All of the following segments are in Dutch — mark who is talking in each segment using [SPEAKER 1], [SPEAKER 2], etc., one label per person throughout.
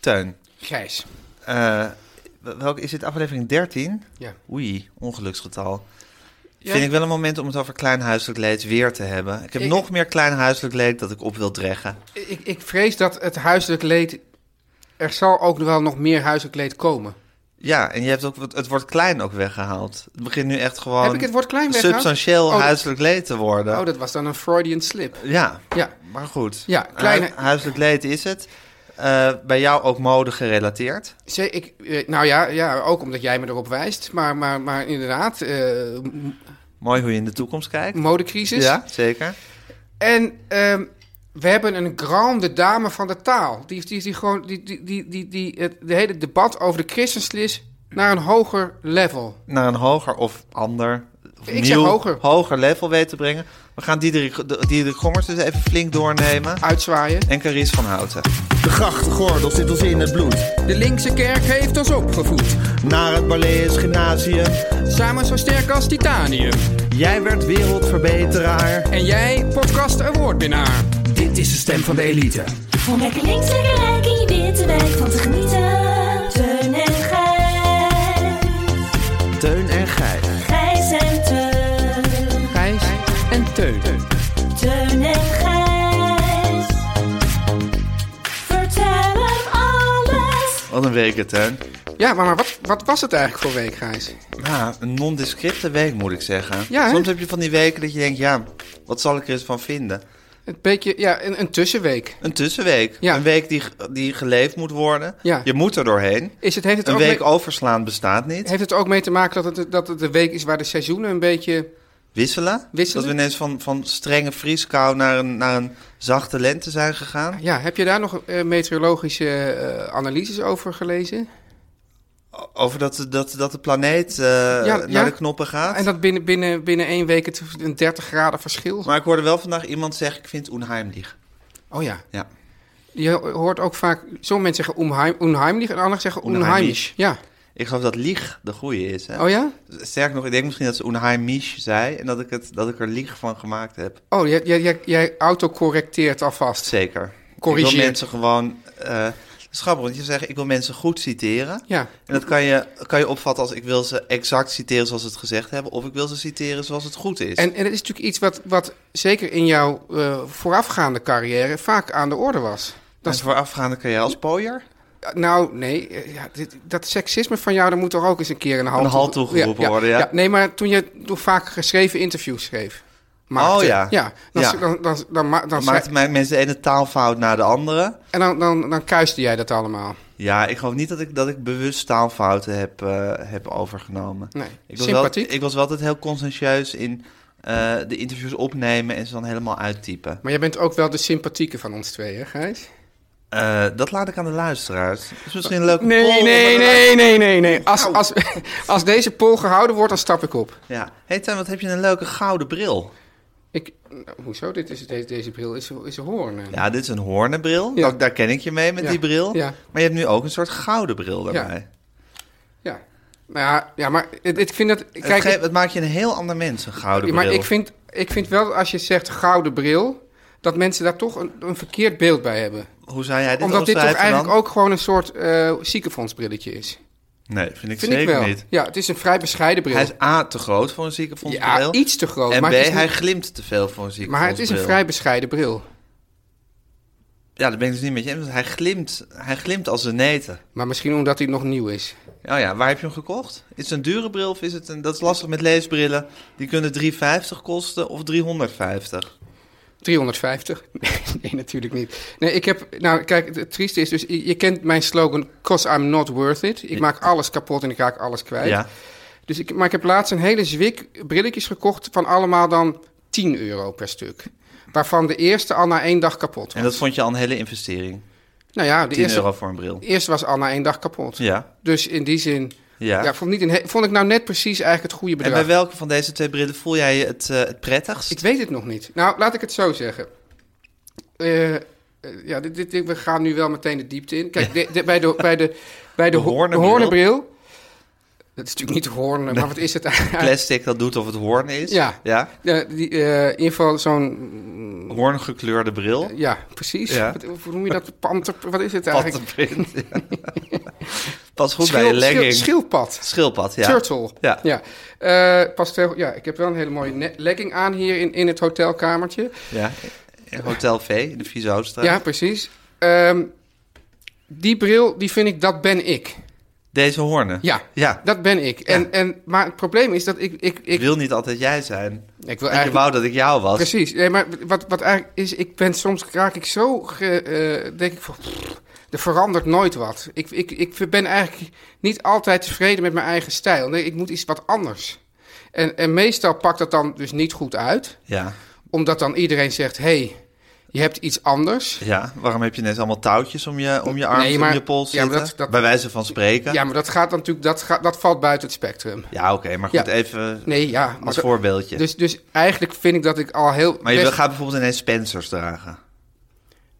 [SPEAKER 1] Teun,
[SPEAKER 2] Gijs.
[SPEAKER 1] eh, welke, is dit aflevering 13?
[SPEAKER 2] Ja.
[SPEAKER 1] Oei, ongeluksgetal.
[SPEAKER 2] Ja.
[SPEAKER 1] Vind ik wel een moment om het over klein huiselijk leed weer te hebben. Ik heb
[SPEAKER 2] Ik-
[SPEAKER 1] nog meer klein huiselijk leed dat ik op wil dreggen.
[SPEAKER 2] Ik, ik vrees dat het huiselijk leed... Er zal ook wel nog meer huiselijk leed komen.
[SPEAKER 1] Ja, en je hebt ook het- het woord klein ook weggehaald. Het begint nu echt gewoon
[SPEAKER 2] Heb ik het woord klein weggehaald?
[SPEAKER 1] substantieel
[SPEAKER 2] Oh, dat-
[SPEAKER 1] huiselijk leed te worden.
[SPEAKER 2] Oh, dat was dan een Freudian slip.
[SPEAKER 1] Ja,
[SPEAKER 2] Ja.
[SPEAKER 1] maar goed.
[SPEAKER 2] Ja, kleine-
[SPEAKER 1] Hui- huiselijk leed is het. Eh, bij jou ook mode gerelateerd.
[SPEAKER 2] Zee, ik, eh, nou ja, ja, ook omdat jij me erop wijst. Maar, maar, maar inderdaad, eh, m-
[SPEAKER 1] Mooi hoe je in de toekomst kijkt.
[SPEAKER 2] Mm, modecrisis.
[SPEAKER 1] Ja, zeker.
[SPEAKER 2] En ehm, we hebben een grande dame van de taal. Die, die, die gewoon die, die, die, die, die het de hele debat over de christenslis naar een hoger level.
[SPEAKER 1] Naar een hoger of ander, of
[SPEAKER 2] Ik zeg
[SPEAKER 1] nieuw,
[SPEAKER 2] hoger.
[SPEAKER 1] level weet te brengen. We gaan Diederik, de- Diederik Gommers dus even flink doornemen.
[SPEAKER 2] Uitzwaaien.
[SPEAKER 1] En Carice van Houten.
[SPEAKER 3] De grachtgordel zit ons in het bloed.
[SPEAKER 4] De linkse kerk heeft ons opgevoed,
[SPEAKER 3] Naar het Balees Gymnasium.
[SPEAKER 4] samen zo sterk als titanium.
[SPEAKER 3] Jij werd wereldverbeteraar.
[SPEAKER 4] En jij, podcast awardwinnaar. Dit is de stem van de elite.
[SPEAKER 5] Om lekker links, lekker rijk in je witte wijk van te genieten. Teun en Gijs.
[SPEAKER 3] Teun en Gijs.
[SPEAKER 5] Gijs en Teun.
[SPEAKER 4] Gijs en Teun.
[SPEAKER 5] Teun en Gijs. Vertel hem alles.
[SPEAKER 1] Wat een week het, hè?
[SPEAKER 2] Ja, maar, maar wat, wat was het eigenlijk voor week, Gijs?
[SPEAKER 1] Nou, een nondescripte week moet ik zeggen.
[SPEAKER 2] Ja, hè?
[SPEAKER 1] Soms heb je van die weken dat je denkt, ja, wat zal ik er eens van vinden?
[SPEAKER 2] Een beetje, ja, een, een tussenweek.
[SPEAKER 1] Een tussenweek.
[SPEAKER 2] Ja.
[SPEAKER 1] Een week die, ge- die geleefd moet worden.
[SPEAKER 2] Ja.
[SPEAKER 1] Je moet er doorheen.
[SPEAKER 2] Is het, heeft, het
[SPEAKER 1] Een
[SPEAKER 2] ook
[SPEAKER 1] week
[SPEAKER 2] mee,
[SPEAKER 1] overslaan bestaat niet.
[SPEAKER 2] heeft het ook mee te maken dat het, dat het de week is waar de seizoenen een beetje...
[SPEAKER 1] Wisselen.
[SPEAKER 2] Wisselen?
[SPEAKER 1] Dat we ineens van, van strenge vrieskou naar een, naar een zachte lente zijn gegaan.
[SPEAKER 2] Ja, heb je daar nog eh, meteorologische eh, analyses over gelezen?
[SPEAKER 1] O- Over dat, de- dat, dat de planeet eh, naar
[SPEAKER 2] ja.
[SPEAKER 1] de knoppen gaat.
[SPEAKER 2] En dat binnen, binnen, binnen één week het een 30 graden verschil.
[SPEAKER 1] Maar ik hoorde wel vandaag iemand zeggen, ik vind het onheimlich.
[SPEAKER 2] Oh ja.
[SPEAKER 1] Ja.
[SPEAKER 2] Je hoort ook vaak, sommige mensen zeggen onheim, onheimlich en anderen zeggen
[SPEAKER 1] Onheimisch.
[SPEAKER 2] onheimisch. Ja.
[SPEAKER 1] Ik geloof dat lieg de goede is. Hè?
[SPEAKER 2] Oh ja?
[SPEAKER 1] Sterker nog, ik denk misschien dat ze onheimisch zei. En dat ik, het, dat ik er lieg van gemaakt heb.
[SPEAKER 2] Oh, jij, jij, jij, jij autocorrecteert alvast.
[SPEAKER 1] Zeker. Ik
[SPEAKER 2] Corrigeert.
[SPEAKER 1] wil mensen gewoon... eh het is grappig, want je zegt, ik wil mensen goed citeren.
[SPEAKER 2] Ja.
[SPEAKER 1] En dat kan je, kan je opvatten als ik wil ze exact citeren zoals ze het gezegd hebben. Of ik wil ze citeren zoals het goed is.
[SPEAKER 2] En, en dat is natuurlijk iets wat, wat zeker in jouw eh, voorafgaande carrière vaak aan de orde was.
[SPEAKER 1] dat
[SPEAKER 2] Dat
[SPEAKER 1] is voorafgaande kan jij als pooier.
[SPEAKER 2] Nou, nee, eh, ja, dit, dat seksisme van jou, daar moet toch ook eens een keer een halt,
[SPEAKER 1] Een halt toegeroepen worden, ja.
[SPEAKER 2] Nee, maar toen je toch vaak geschreven interviews schreef. maakte,
[SPEAKER 1] Oh, ja.
[SPEAKER 2] Ja, dan,
[SPEAKER 1] Ja.
[SPEAKER 2] dan, dan, dan, ma-
[SPEAKER 1] Dan
[SPEAKER 2] dan
[SPEAKER 1] maakt
[SPEAKER 2] schrijf-
[SPEAKER 1] mij mensen de ene taalfout na de andere.
[SPEAKER 2] en dan, dan, dan kuiste jij dat allemaal.
[SPEAKER 1] Ja, ik geloof niet dat ik, dat ik bewust taalfouten heb, eh, heb overgenomen.
[SPEAKER 2] Nee,
[SPEAKER 1] Ik was, wel,
[SPEAKER 2] sympathiek.
[SPEAKER 1] ik was wel altijd heel conscientieus in eh, de interviews opnemen en ze dan helemaal uittypen.
[SPEAKER 2] Maar jij bent ook wel de sympathieke van ons twee, hè, Gijs?
[SPEAKER 1] Eh, dat laat ik aan de luisteraars. Dat Oh. is misschien een leuke poll
[SPEAKER 2] Nee,
[SPEAKER 1] onder
[SPEAKER 2] nee,
[SPEAKER 1] de
[SPEAKER 2] nee, nee, nee, nee. Als, als, als deze poll gehouden wordt, dan stap ik op.
[SPEAKER 1] lu- Ja. hey, Tim, wat heb je een leuke gouden bril?
[SPEAKER 2] Ik, nou, hoezo? Dit is, deze, deze bril is, is een hoorn. hè?
[SPEAKER 1] Ja, dit is een hoornenbril.
[SPEAKER 2] Ja.
[SPEAKER 1] Daar, daar ken ik je mee met
[SPEAKER 2] Ja,
[SPEAKER 1] die bril.
[SPEAKER 2] ja.
[SPEAKER 1] Maar je hebt nu ook een soort gouden bril daarbij.
[SPEAKER 2] Ja. Nou ja, ja, maar het- het- ik vind dat... Kijk,
[SPEAKER 1] het,
[SPEAKER 2] ik-
[SPEAKER 1] geeft- het maakt je een heel ander mens, een gouden
[SPEAKER 2] Ja,
[SPEAKER 1] bril.
[SPEAKER 2] maar ik vind, ik vind wel, als je zegt gouden bril, dat mensen daar toch een, een verkeerd beeld bij hebben.
[SPEAKER 1] Hoe zou jij dit
[SPEAKER 2] Omdat dit toch
[SPEAKER 1] omschrijven
[SPEAKER 2] eigenlijk
[SPEAKER 1] dan?
[SPEAKER 2] ook gewoon een soort eh ziekenfondsbrilletje is.
[SPEAKER 1] Nee, vind ik
[SPEAKER 2] Vind ik
[SPEAKER 1] zeker
[SPEAKER 2] wel.
[SPEAKER 1] niet.
[SPEAKER 2] Ja, het is een vrij bescheiden bril.
[SPEAKER 1] Hij is A, te groot voor een ziekenfondsbril.
[SPEAKER 2] Ja, iets te groot,
[SPEAKER 1] En
[SPEAKER 2] maar
[SPEAKER 1] B,
[SPEAKER 2] het is niet-
[SPEAKER 1] hij glimt te veel voor een ziekenfondsbril.
[SPEAKER 2] maar het is een vrij bescheiden bril.
[SPEAKER 1] Ja, dat ben ik dus niet met je eens. want Hij glimt, hij glimt als een neten.
[SPEAKER 2] Maar misschien omdat hij nog nieuw is.
[SPEAKER 1] Oh ja, waar heb je hem gekocht? Is het een dure bril of is het een... Dat is lastig met leesbrillen. Die kunnen 3,50 kosten of 350.
[SPEAKER 2] 350? Nee, natuurlijk niet. Nee, ik heb... Nou, kijk, het trieste is dus... Je, je kent mijn slogan, cause I'm not worth it. Ik maak alles kapot en ik raak alles kwijt.
[SPEAKER 1] Ja.
[SPEAKER 2] Dus ik, maar ik heb laatst een hele zwik brilletjes gekocht van allemaal dan 10 euro per stuk. Waarvan de eerste al na één dag kapot was.
[SPEAKER 1] En dat vond je al een hele investering.
[SPEAKER 2] nou ja, de
[SPEAKER 1] 10
[SPEAKER 2] eerste,
[SPEAKER 1] euro voor een bril.
[SPEAKER 2] de eerste was al na één dag kapot.
[SPEAKER 1] Ja.
[SPEAKER 2] Dus in die zin...
[SPEAKER 1] Ja.
[SPEAKER 2] Ja. vond, niet een he- vond ik nou net precies eigenlijk het goede
[SPEAKER 1] En
[SPEAKER 2] bedrag.
[SPEAKER 1] bij welke van deze twee brillen voel jij je het, eh, het prettigst?
[SPEAKER 2] Ik weet het nog niet. Nou, laat ik het zo zeggen. Eh, eh, ja, dit, dit, dit- we gaan nu wel meteen de diepte in. Kijk, de- de- bij de, bij de, bij de,
[SPEAKER 1] De
[SPEAKER 2] ho-
[SPEAKER 1] hoornenbril.
[SPEAKER 2] hoornenbril. Dat is natuurlijk niet de hoorn, maar wat is het eigenlijk?
[SPEAKER 1] Plastic dat doet of het hoorn is.
[SPEAKER 2] Ja.
[SPEAKER 1] ja.
[SPEAKER 2] Ja, die, eh, in ieder geval zo'n...
[SPEAKER 1] Hoorngekleurde bril.
[SPEAKER 2] Ja, precies.
[SPEAKER 1] Ja.
[SPEAKER 2] Wat, hoe noem je dat? Panter, wat is het eigenlijk?
[SPEAKER 1] Pattenprint, ja. Pas goed bij je
[SPEAKER 2] Schil- schil-
[SPEAKER 1] legging.
[SPEAKER 2] schildpad.
[SPEAKER 1] Schildpad, ja.
[SPEAKER 2] Turtle.
[SPEAKER 1] Ja.
[SPEAKER 2] Ja. Eh, past heel, ja, ik heb wel een hele mooie ne- legging aan hier in, in het hotelkamertje.
[SPEAKER 1] ja. In Hotel V, in de Vieze Hoofdstraat.
[SPEAKER 2] Ja, precies. Ehm, die bril, die vind ik, dat ben ik.
[SPEAKER 1] Deze hoornen.
[SPEAKER 2] Ja,
[SPEAKER 1] ja.
[SPEAKER 2] dat ben ik. En, en, maar het probleem is dat ik... Ik,
[SPEAKER 1] Ik
[SPEAKER 2] ik,
[SPEAKER 1] wil niet altijd jij zijn.
[SPEAKER 2] ik
[SPEAKER 1] Ik
[SPEAKER 2] wil eigenlijk...
[SPEAKER 1] wou dat ik jou was.
[SPEAKER 2] Precies. Nee, maar wat, wat eigenlijk is, ik ben soms raak ik zo, ge- eh, denk ik van, pff, er verandert nooit wat. Ik, ik, ik ben eigenlijk niet altijd tevreden met mijn eigen stijl. Nee, ik moet iets wat anders. En, en meestal pakt dat dan dus niet goed uit,
[SPEAKER 1] Ja.
[SPEAKER 2] omdat dan iedereen zegt, hey, je hebt iets anders.
[SPEAKER 1] ja. Waarom heb je net allemaal touwtjes om je, om je arm
[SPEAKER 2] Nee,
[SPEAKER 1] en
[SPEAKER 2] maar-
[SPEAKER 1] om je pols
[SPEAKER 2] ja, maar
[SPEAKER 1] zitten?
[SPEAKER 2] dat- dat-
[SPEAKER 1] Bij wijze van spreken.
[SPEAKER 2] Ja, maar dat gaat dan natuurlijk, dat, gaat, dat valt buiten het spectrum.
[SPEAKER 1] Ja, oké. maar goed,
[SPEAKER 2] Ja.
[SPEAKER 1] even
[SPEAKER 2] Nee, ja. maar
[SPEAKER 1] als
[SPEAKER 2] dat-
[SPEAKER 1] voorbeeldje.
[SPEAKER 2] Dus, dus eigenlijk vind ik dat ik al heel...
[SPEAKER 1] maar je
[SPEAKER 2] best-
[SPEAKER 1] wil- gaat bijvoorbeeld ineens Spencers dragen.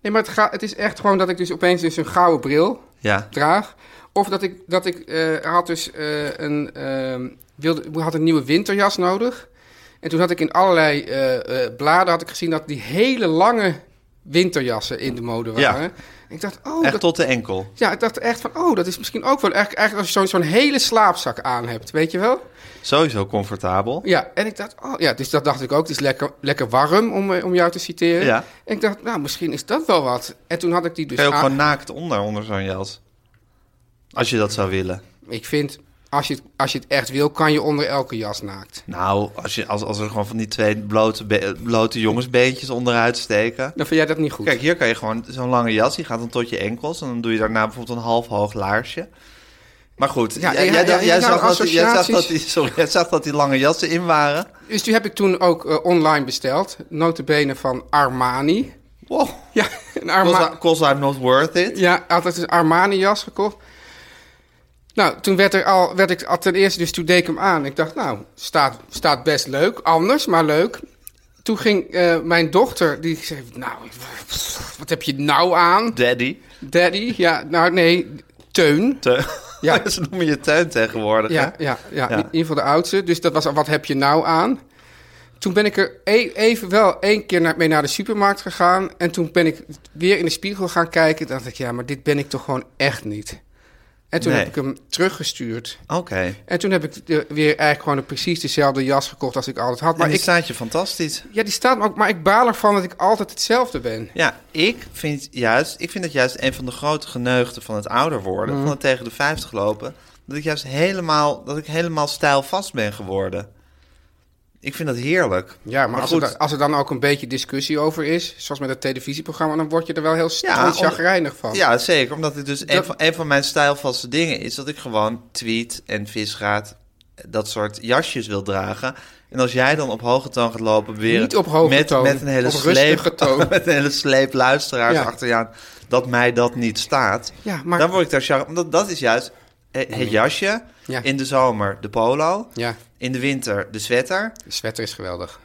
[SPEAKER 2] Nee, maar het, ga, het is echt gewoon dat ik dus opeens dus een gouden bril
[SPEAKER 1] Ja.
[SPEAKER 2] draag. Of dat ik, dat ik eh, had dus eh, een, ehm, wilde, ik had een nieuwe winterjas nodig. En toen had ik in allerlei eh, eh, bladen had ik gezien dat die hele lange winterjassen in de mode
[SPEAKER 1] Ja.
[SPEAKER 2] waren. En ik dacht, oh,
[SPEAKER 1] Echt
[SPEAKER 2] dat,
[SPEAKER 1] tot de enkel.
[SPEAKER 2] ja, ik dacht echt van, oh, dat is misschien ook wel echt, eigenlijk als je zo'n zo'n hele slaapzak aan hebt, weet je wel?
[SPEAKER 1] Sowieso comfortabel.
[SPEAKER 2] Ja, en ik dacht, oh ja, dus dat dacht ik ook. Het is lekker, lekker warm, om, eh, om jou te citeren.
[SPEAKER 1] Ja.
[SPEAKER 2] En ik dacht, nou, misschien is dat wel wat. En toen had ik die dus
[SPEAKER 1] Kun je ook
[SPEAKER 2] aan-
[SPEAKER 1] gewoon naakt onder, onder zo'n jas. Als je dat zou willen.
[SPEAKER 2] Ik vind, als je, het- als je het echt wil, kan je onder elke jas naakt.
[SPEAKER 1] Nou, als, je, als, als er gewoon van die twee blote, be- eh, blote jongensbeentjes onderuit steken.
[SPEAKER 2] Dan vind jij dat niet goed.
[SPEAKER 1] Kijk, hier kan je gewoon zo'n lange jas, die gaat dan tot je enkels. En dan doe je daarna bijvoorbeeld een half hoog laarsje. Maar goed,
[SPEAKER 2] Ja,
[SPEAKER 1] jij-
[SPEAKER 2] ja,
[SPEAKER 1] jij
[SPEAKER 2] ja,
[SPEAKER 1] dacht-
[SPEAKER 2] ja,
[SPEAKER 1] jij
[SPEAKER 2] nou,
[SPEAKER 1] zag dat die- jij zag dat die-
[SPEAKER 2] associaties.
[SPEAKER 1] sorry, jij zag dat die lange jassen in waren.
[SPEAKER 2] Dus die heb ik toen ook eh, online besteld. Notabene van Armani.
[SPEAKER 1] Wow,
[SPEAKER 2] Ja,
[SPEAKER 1] Cause
[SPEAKER 2] een
[SPEAKER 1] I-
[SPEAKER 2] Armani.
[SPEAKER 1] cause I'm not worth it.
[SPEAKER 2] Ja, had ik dus een Armani-jas gekocht. Nou, toen werd, er al, werd ik al ten eerste, dus toen deed ik hem aan. Ik dacht, nou, staat, staat best leuk. Anders, maar leuk. Toen ging eh, mijn dochter, die zei, nou, wat heb je nou aan?
[SPEAKER 1] Daddy.
[SPEAKER 2] Daddy? Ja, nou nee, Teun.
[SPEAKER 1] Teun. Ja.
[SPEAKER 2] Ja.
[SPEAKER 1] Ze noemen je tuin tegenwoordig.
[SPEAKER 2] Ja,
[SPEAKER 1] hè?
[SPEAKER 2] ja,
[SPEAKER 1] Ja.
[SPEAKER 2] ja, in ieder geval de oudste. Dus dat was al, wat heb je nou aan? Toen ben ik er e- even wel één keer naar, mee naar de supermarkt gegaan. En toen ben ik weer in de spiegel gaan kijken. Toen dacht ik, ja, maar dit ben ik toch gewoon echt niet. En toen
[SPEAKER 1] Nee.
[SPEAKER 2] heb ik hem teruggestuurd.
[SPEAKER 1] Oké.
[SPEAKER 2] En toen heb ik de- weer eigenlijk gewoon een precies dezelfde jas gekocht als ik altijd had.
[SPEAKER 1] Maar
[SPEAKER 2] Maar
[SPEAKER 1] die
[SPEAKER 2] ik,
[SPEAKER 1] staat je fantastisch.
[SPEAKER 2] ja, die staat me ook, maar ik baal ervan dat ik altijd hetzelfde ben.
[SPEAKER 1] Ja, ik vind, juist, ik vind dat juist een van de grote geneugten van het ouder worden,
[SPEAKER 2] Mhm.
[SPEAKER 1] van het tegen de 50 lopen, dat ik juist helemaal, dat ik helemaal stijlvast ben geworden. Ik vind dat heerlijk.
[SPEAKER 2] Ja, maar, als, er, da- als er dan ook een beetje discussie over is, zoals met het televisieprogramma, dan word je er wel heel
[SPEAKER 1] Ja,
[SPEAKER 2] ja,
[SPEAKER 1] om-
[SPEAKER 2] chagrijnig van.
[SPEAKER 1] Ja, zeker. Omdat het dus een,
[SPEAKER 2] Dat-
[SPEAKER 1] van, een van mijn stijlvaste dingen is dat ik gewoon tweet en visraad eh, dat soort jasjes wil dragen. En als jij dan op hoge toon gaat lopen weer
[SPEAKER 2] Niet op hoge
[SPEAKER 1] met,
[SPEAKER 2] toon,
[SPEAKER 1] met een hele
[SPEAKER 2] op
[SPEAKER 1] sleep,
[SPEAKER 2] rustige toon.
[SPEAKER 1] met een hele sleep luisteraars
[SPEAKER 2] Ja.
[SPEAKER 1] achter je aan, dat mij dat niet staat.
[SPEAKER 2] Ja, maar-
[SPEAKER 1] Dan word ik daar char- omdat dat is juist eh, het jasje.
[SPEAKER 2] Ja.
[SPEAKER 1] In de zomer de polo.
[SPEAKER 2] Ja.
[SPEAKER 1] In de winter de sweater.
[SPEAKER 2] De sweater is geweldig.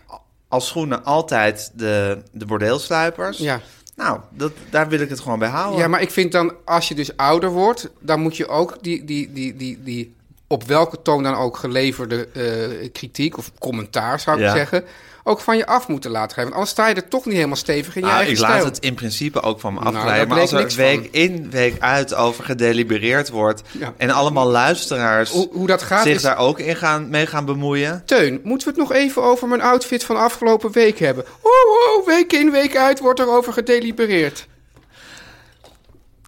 [SPEAKER 1] Als schoenen altijd de, de bordeelsluipers.
[SPEAKER 2] Ja.
[SPEAKER 1] Nou, dat, daar wil ik het gewoon bij houden.
[SPEAKER 2] Ja, maar ik vind dan, als je dus ouder wordt, dan moet je ook die, die, die, die, die op welke toon dan ook geleverde eh, kritiek of commentaar, zou ik
[SPEAKER 1] Ja.
[SPEAKER 2] zeggen, ook van je af moeten laten gaan. Want anders sta je er toch niet helemaal stevig in je
[SPEAKER 1] Nou,
[SPEAKER 2] eigen
[SPEAKER 1] ik laat
[SPEAKER 2] stijl.
[SPEAKER 1] het in principe ook van me
[SPEAKER 2] Nou,
[SPEAKER 1] afglijden.
[SPEAKER 2] daar
[SPEAKER 1] maar als
[SPEAKER 2] bleek
[SPEAKER 1] er
[SPEAKER 2] niks
[SPEAKER 1] week in, week uit over gedelibereerd wordt...
[SPEAKER 2] Ja.
[SPEAKER 1] en allemaal luisteraars
[SPEAKER 2] Hoe- hoe dat gaat
[SPEAKER 1] zich
[SPEAKER 2] is-
[SPEAKER 1] daar ook in gaan, mee gaan bemoeien...
[SPEAKER 2] Teun, moeten we het nog even over mijn outfit van afgelopen week hebben? Oh, oh, week in, week uit wordt erover gedelibereerd.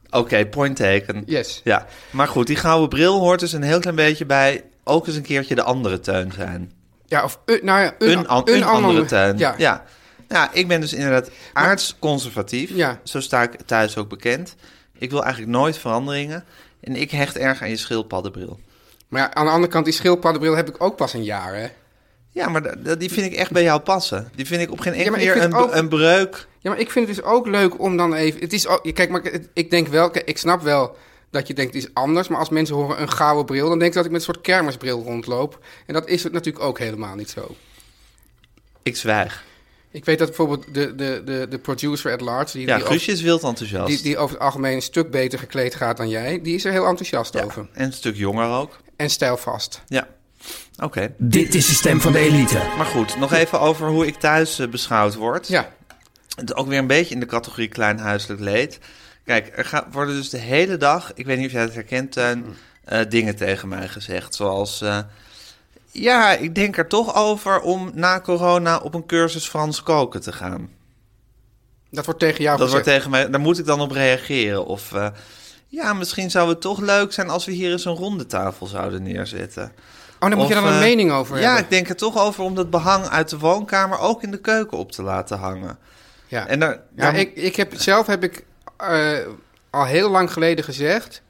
[SPEAKER 1] Oké, point taken.
[SPEAKER 2] Yes.
[SPEAKER 1] Ja. Maar goed, die gouden bril hoort dus een heel klein beetje bij... ook eens een keertje de andere teun zijn.
[SPEAKER 2] Ja, of eh, nou ja,
[SPEAKER 1] Een, an- een andere tuin.
[SPEAKER 2] Ja.
[SPEAKER 1] Ja. ja. Nou, ik ben dus inderdaad aards-conservatief.
[SPEAKER 2] Ja.
[SPEAKER 1] Zo sta ik thuis ook bekend. Ik wil eigenlijk nooit veranderingen. En ik hecht erg aan je schildpaddenbril.
[SPEAKER 2] Maar ja, aan de andere kant, die schildpaddenbril heb ik ook pas een jaar, hè?
[SPEAKER 1] Ja, maar da- da- die vind ik echt bij jou passen. Die vind ik op geen enkele
[SPEAKER 2] maar ik
[SPEAKER 1] manier
[SPEAKER 2] vind
[SPEAKER 1] een,
[SPEAKER 2] ook-
[SPEAKER 1] een breuk.
[SPEAKER 2] Ja, maar ik vind het dus ook leuk om dan even... Het is ook, kijk, maar ik- ik denk wel... Kijk, ik snap wel dat je denkt het is anders. Maar als mensen horen een gouden bril... dan denken ze dat ik met een soort kermisbril rondloop. En dat is het natuurlijk ook helemaal niet zo.
[SPEAKER 1] Ik zwijg.
[SPEAKER 2] Ik weet dat bijvoorbeeld de, de, de, de producer at large... Die,
[SPEAKER 1] Ja,
[SPEAKER 2] die,
[SPEAKER 1] Guusje
[SPEAKER 2] over,
[SPEAKER 1] is wild enthousiast.
[SPEAKER 2] die, die over het algemeen een stuk beter gekleed gaat dan jij... die is er heel enthousiast
[SPEAKER 1] Ja,
[SPEAKER 2] over.
[SPEAKER 1] En een stuk jonger ook.
[SPEAKER 2] En stijlvast.
[SPEAKER 1] Ja. Oké.
[SPEAKER 4] Dit is de stem van de elite.
[SPEAKER 1] Maar goed, nog even over hoe ik thuis eh, beschouwd word.
[SPEAKER 2] Ja,
[SPEAKER 1] Het is ook weer een beetje in de categorie klein huiselijk leed. Kijk, er gaan, worden dus de hele dag, ik weet niet of jij het herkent, Teun,
[SPEAKER 2] Mm.
[SPEAKER 1] eh, dingen tegen mij gezegd. Zoals, eh, ja, ik denk er toch over om na corona op een cursus Frans koken te gaan.
[SPEAKER 2] dat wordt tegen jou
[SPEAKER 1] Dat wordt
[SPEAKER 2] gezegd.
[SPEAKER 1] tegen mij, daar moet ik dan op reageren. Of, eh, ja, misschien zou het toch leuk zijn als we hier eens een ronde tafel zouden neerzetten.
[SPEAKER 2] Oh, daar moet je
[SPEAKER 1] Of,
[SPEAKER 2] dan een
[SPEAKER 1] eh,
[SPEAKER 2] mening over
[SPEAKER 1] Ja, ik
[SPEAKER 2] hebben.
[SPEAKER 1] denk er toch over om dat behang uit de woonkamer ook in de keuken op te laten hangen.
[SPEAKER 2] Ja.
[SPEAKER 1] En daar,
[SPEAKER 2] Ja,
[SPEAKER 1] daar-
[SPEAKER 2] ik, ik heb, zelf heb ik eh, al heel lang geleden gezegd...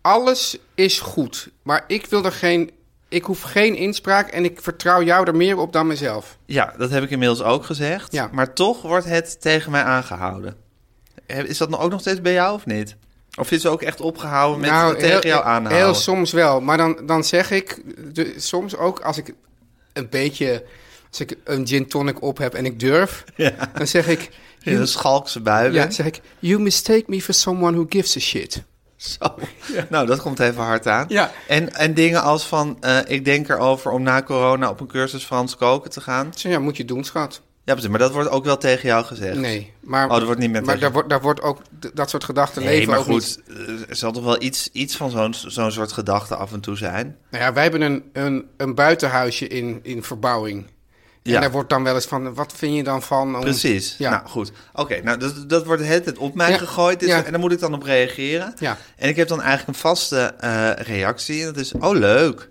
[SPEAKER 2] alles is goed, maar ik wil er geen... ik hoef geen inspraak en ik vertrouw jou er meer op dan mezelf.
[SPEAKER 1] Ja, dat heb ik inmiddels ook gezegd.
[SPEAKER 2] Ja.
[SPEAKER 1] Maar toch wordt het tegen mij aangehouden. He- Is dat nou ook nog steeds bij jou of niet? Of is ze ook echt opgehouden met het tegen jou aanhouden?
[SPEAKER 2] Nou, heel soms wel, maar dan, dan zeg ik... De, soms ook als ik een beetje... als ik een gin tonic op heb en ik durf... dan zeg ik...
[SPEAKER 1] In een schalkse bui.
[SPEAKER 2] Ja,
[SPEAKER 1] bent.
[SPEAKER 2] zeg ik, you mistake me for someone who gives a shit.
[SPEAKER 1] Zo. Nou, dat komt even hard aan.
[SPEAKER 2] Ja.
[SPEAKER 1] En, en dingen als van, eh, ik denk erover om na corona op een cursus Frans koken te gaan.
[SPEAKER 2] Ik zeg, ja, moet je doen, schat.
[SPEAKER 1] Ja, precies, maar dat wordt ook wel tegen jou gezegd.
[SPEAKER 2] Nee, maar,
[SPEAKER 1] Oh, dat wordt niet meer
[SPEAKER 2] maar
[SPEAKER 1] tegen-
[SPEAKER 2] daar, wordt, daar wordt ook d- dat soort gedachten
[SPEAKER 1] Nee,
[SPEAKER 2] leven
[SPEAKER 1] maar
[SPEAKER 2] ook niet.
[SPEAKER 1] goed, eh, er zal toch wel iets, iets van zo'n zo'n soort gedachte af en toe zijn.
[SPEAKER 2] Nou ja, wij hebben een, een, een buitenhuisje in, in verbouwing.
[SPEAKER 1] Ja.
[SPEAKER 2] En daar wordt dan wel eens van, wat vind je dan van? om-
[SPEAKER 1] Precies.
[SPEAKER 2] Ja.
[SPEAKER 1] Nou, goed. Oké, nou, dat, dat wordt het op mij
[SPEAKER 2] Ja,
[SPEAKER 1] gegooid. Dit-
[SPEAKER 2] ja.
[SPEAKER 1] En daar moet ik dan op reageren.
[SPEAKER 2] Ja.
[SPEAKER 1] En ik heb dan eigenlijk een vaste eh, reactie. En dat is, oh, leuk.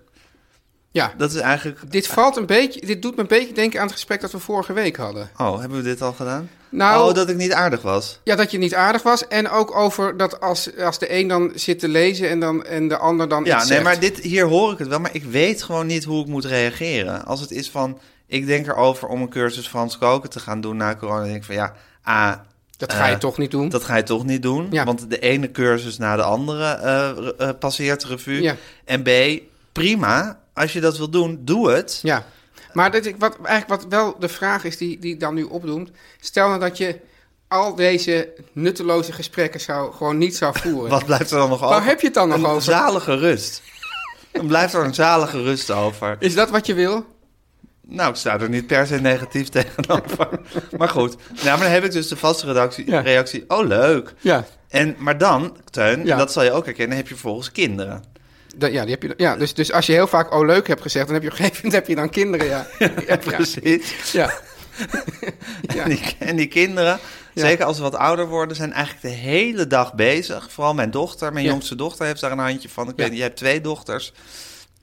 [SPEAKER 2] ja.
[SPEAKER 1] Dat is eigenlijk...
[SPEAKER 2] Dit valt een beetje, dit doet me een beetje denken aan het gesprek dat we vorige week hadden.
[SPEAKER 1] Oh, hebben we dit al gedaan?
[SPEAKER 2] Nou-
[SPEAKER 1] oh, dat ik niet aardig was.
[SPEAKER 2] Ja, dat je niet aardig was. En ook over dat als, als de een dan zit te lezen en, dan, en de ander dan
[SPEAKER 1] Ja,
[SPEAKER 2] iets
[SPEAKER 1] nee,
[SPEAKER 2] zegt.
[SPEAKER 1] maar dit, hier hoor ik het wel. Maar ik weet gewoon niet hoe ik moet reageren. Als het is van, ik denk erover om een cursus Frans koken te gaan doen na corona. Dan denk ik van, ja, A...
[SPEAKER 2] Dat ga je
[SPEAKER 1] eh,
[SPEAKER 2] toch niet doen?
[SPEAKER 1] Dat ga je toch niet doen.
[SPEAKER 2] Ja.
[SPEAKER 1] Want de ene cursus na de andere eh, re- eh, passeert de revue.
[SPEAKER 2] Ja.
[SPEAKER 1] En B, prima. Als je dat wil doen, doe het.
[SPEAKER 2] Ja, maar dat, ik- wat, eigenlijk wat wel de vraag is die, die ik dan nu opdoemt. Stel nou dat je al deze nutteloze gesprekken zou, gewoon niet zou voeren.
[SPEAKER 1] Wat blijft er dan nog over?
[SPEAKER 2] heb je het dan nog
[SPEAKER 1] een
[SPEAKER 2] over?
[SPEAKER 1] zalige rust. Dan blijft er een zalige rust over.
[SPEAKER 2] Is dat wat je wil?
[SPEAKER 1] Nou, ik sta er niet per se negatief tegenover. maar goed. Nou, maar dan heb ik dus de vaste redactie,
[SPEAKER 2] Ja.
[SPEAKER 1] reactie. Oh, leuk.
[SPEAKER 2] Ja.
[SPEAKER 1] En, maar dan, Teun,
[SPEAKER 2] Ja.
[SPEAKER 1] en dat zal je ook herkennen, heb je volgens kinderen.
[SPEAKER 2] Dat, ja, die heb je, ja dus, dus als je heel vaak oh leuk hebt gezegd, dan heb je op een gegeven moment heb je dan kinderen. Ja, ja,
[SPEAKER 1] Precies.
[SPEAKER 2] Ja. Ja.
[SPEAKER 1] En, die, en die kinderen, zeker als ze wat ouder worden, zijn eigenlijk de hele dag bezig. Vooral mijn dochter, mijn
[SPEAKER 2] Ja.
[SPEAKER 1] jongste dochter heeft daar een handje van. Ik
[SPEAKER 2] Ja.
[SPEAKER 1] weet niet, jij hebt twee dochters.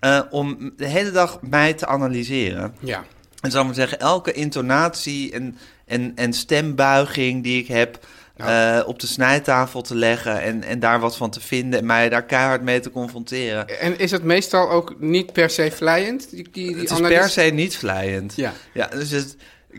[SPEAKER 1] eh, om de hele dag mij te analyseren.
[SPEAKER 2] ja.
[SPEAKER 1] En zal ik maar zeggen, elke intonatie en, en, en stembuiging die ik heb... eh, op de snijtafel te leggen en, en daar wat van te vinden... en mij daar keihard mee te confronteren.
[SPEAKER 2] En is het meestal ook niet per se vlijend? Die, die, die
[SPEAKER 1] Het is
[SPEAKER 2] analyse?
[SPEAKER 1] per se niet vlijend.
[SPEAKER 2] Ja.
[SPEAKER 1] ja dus het,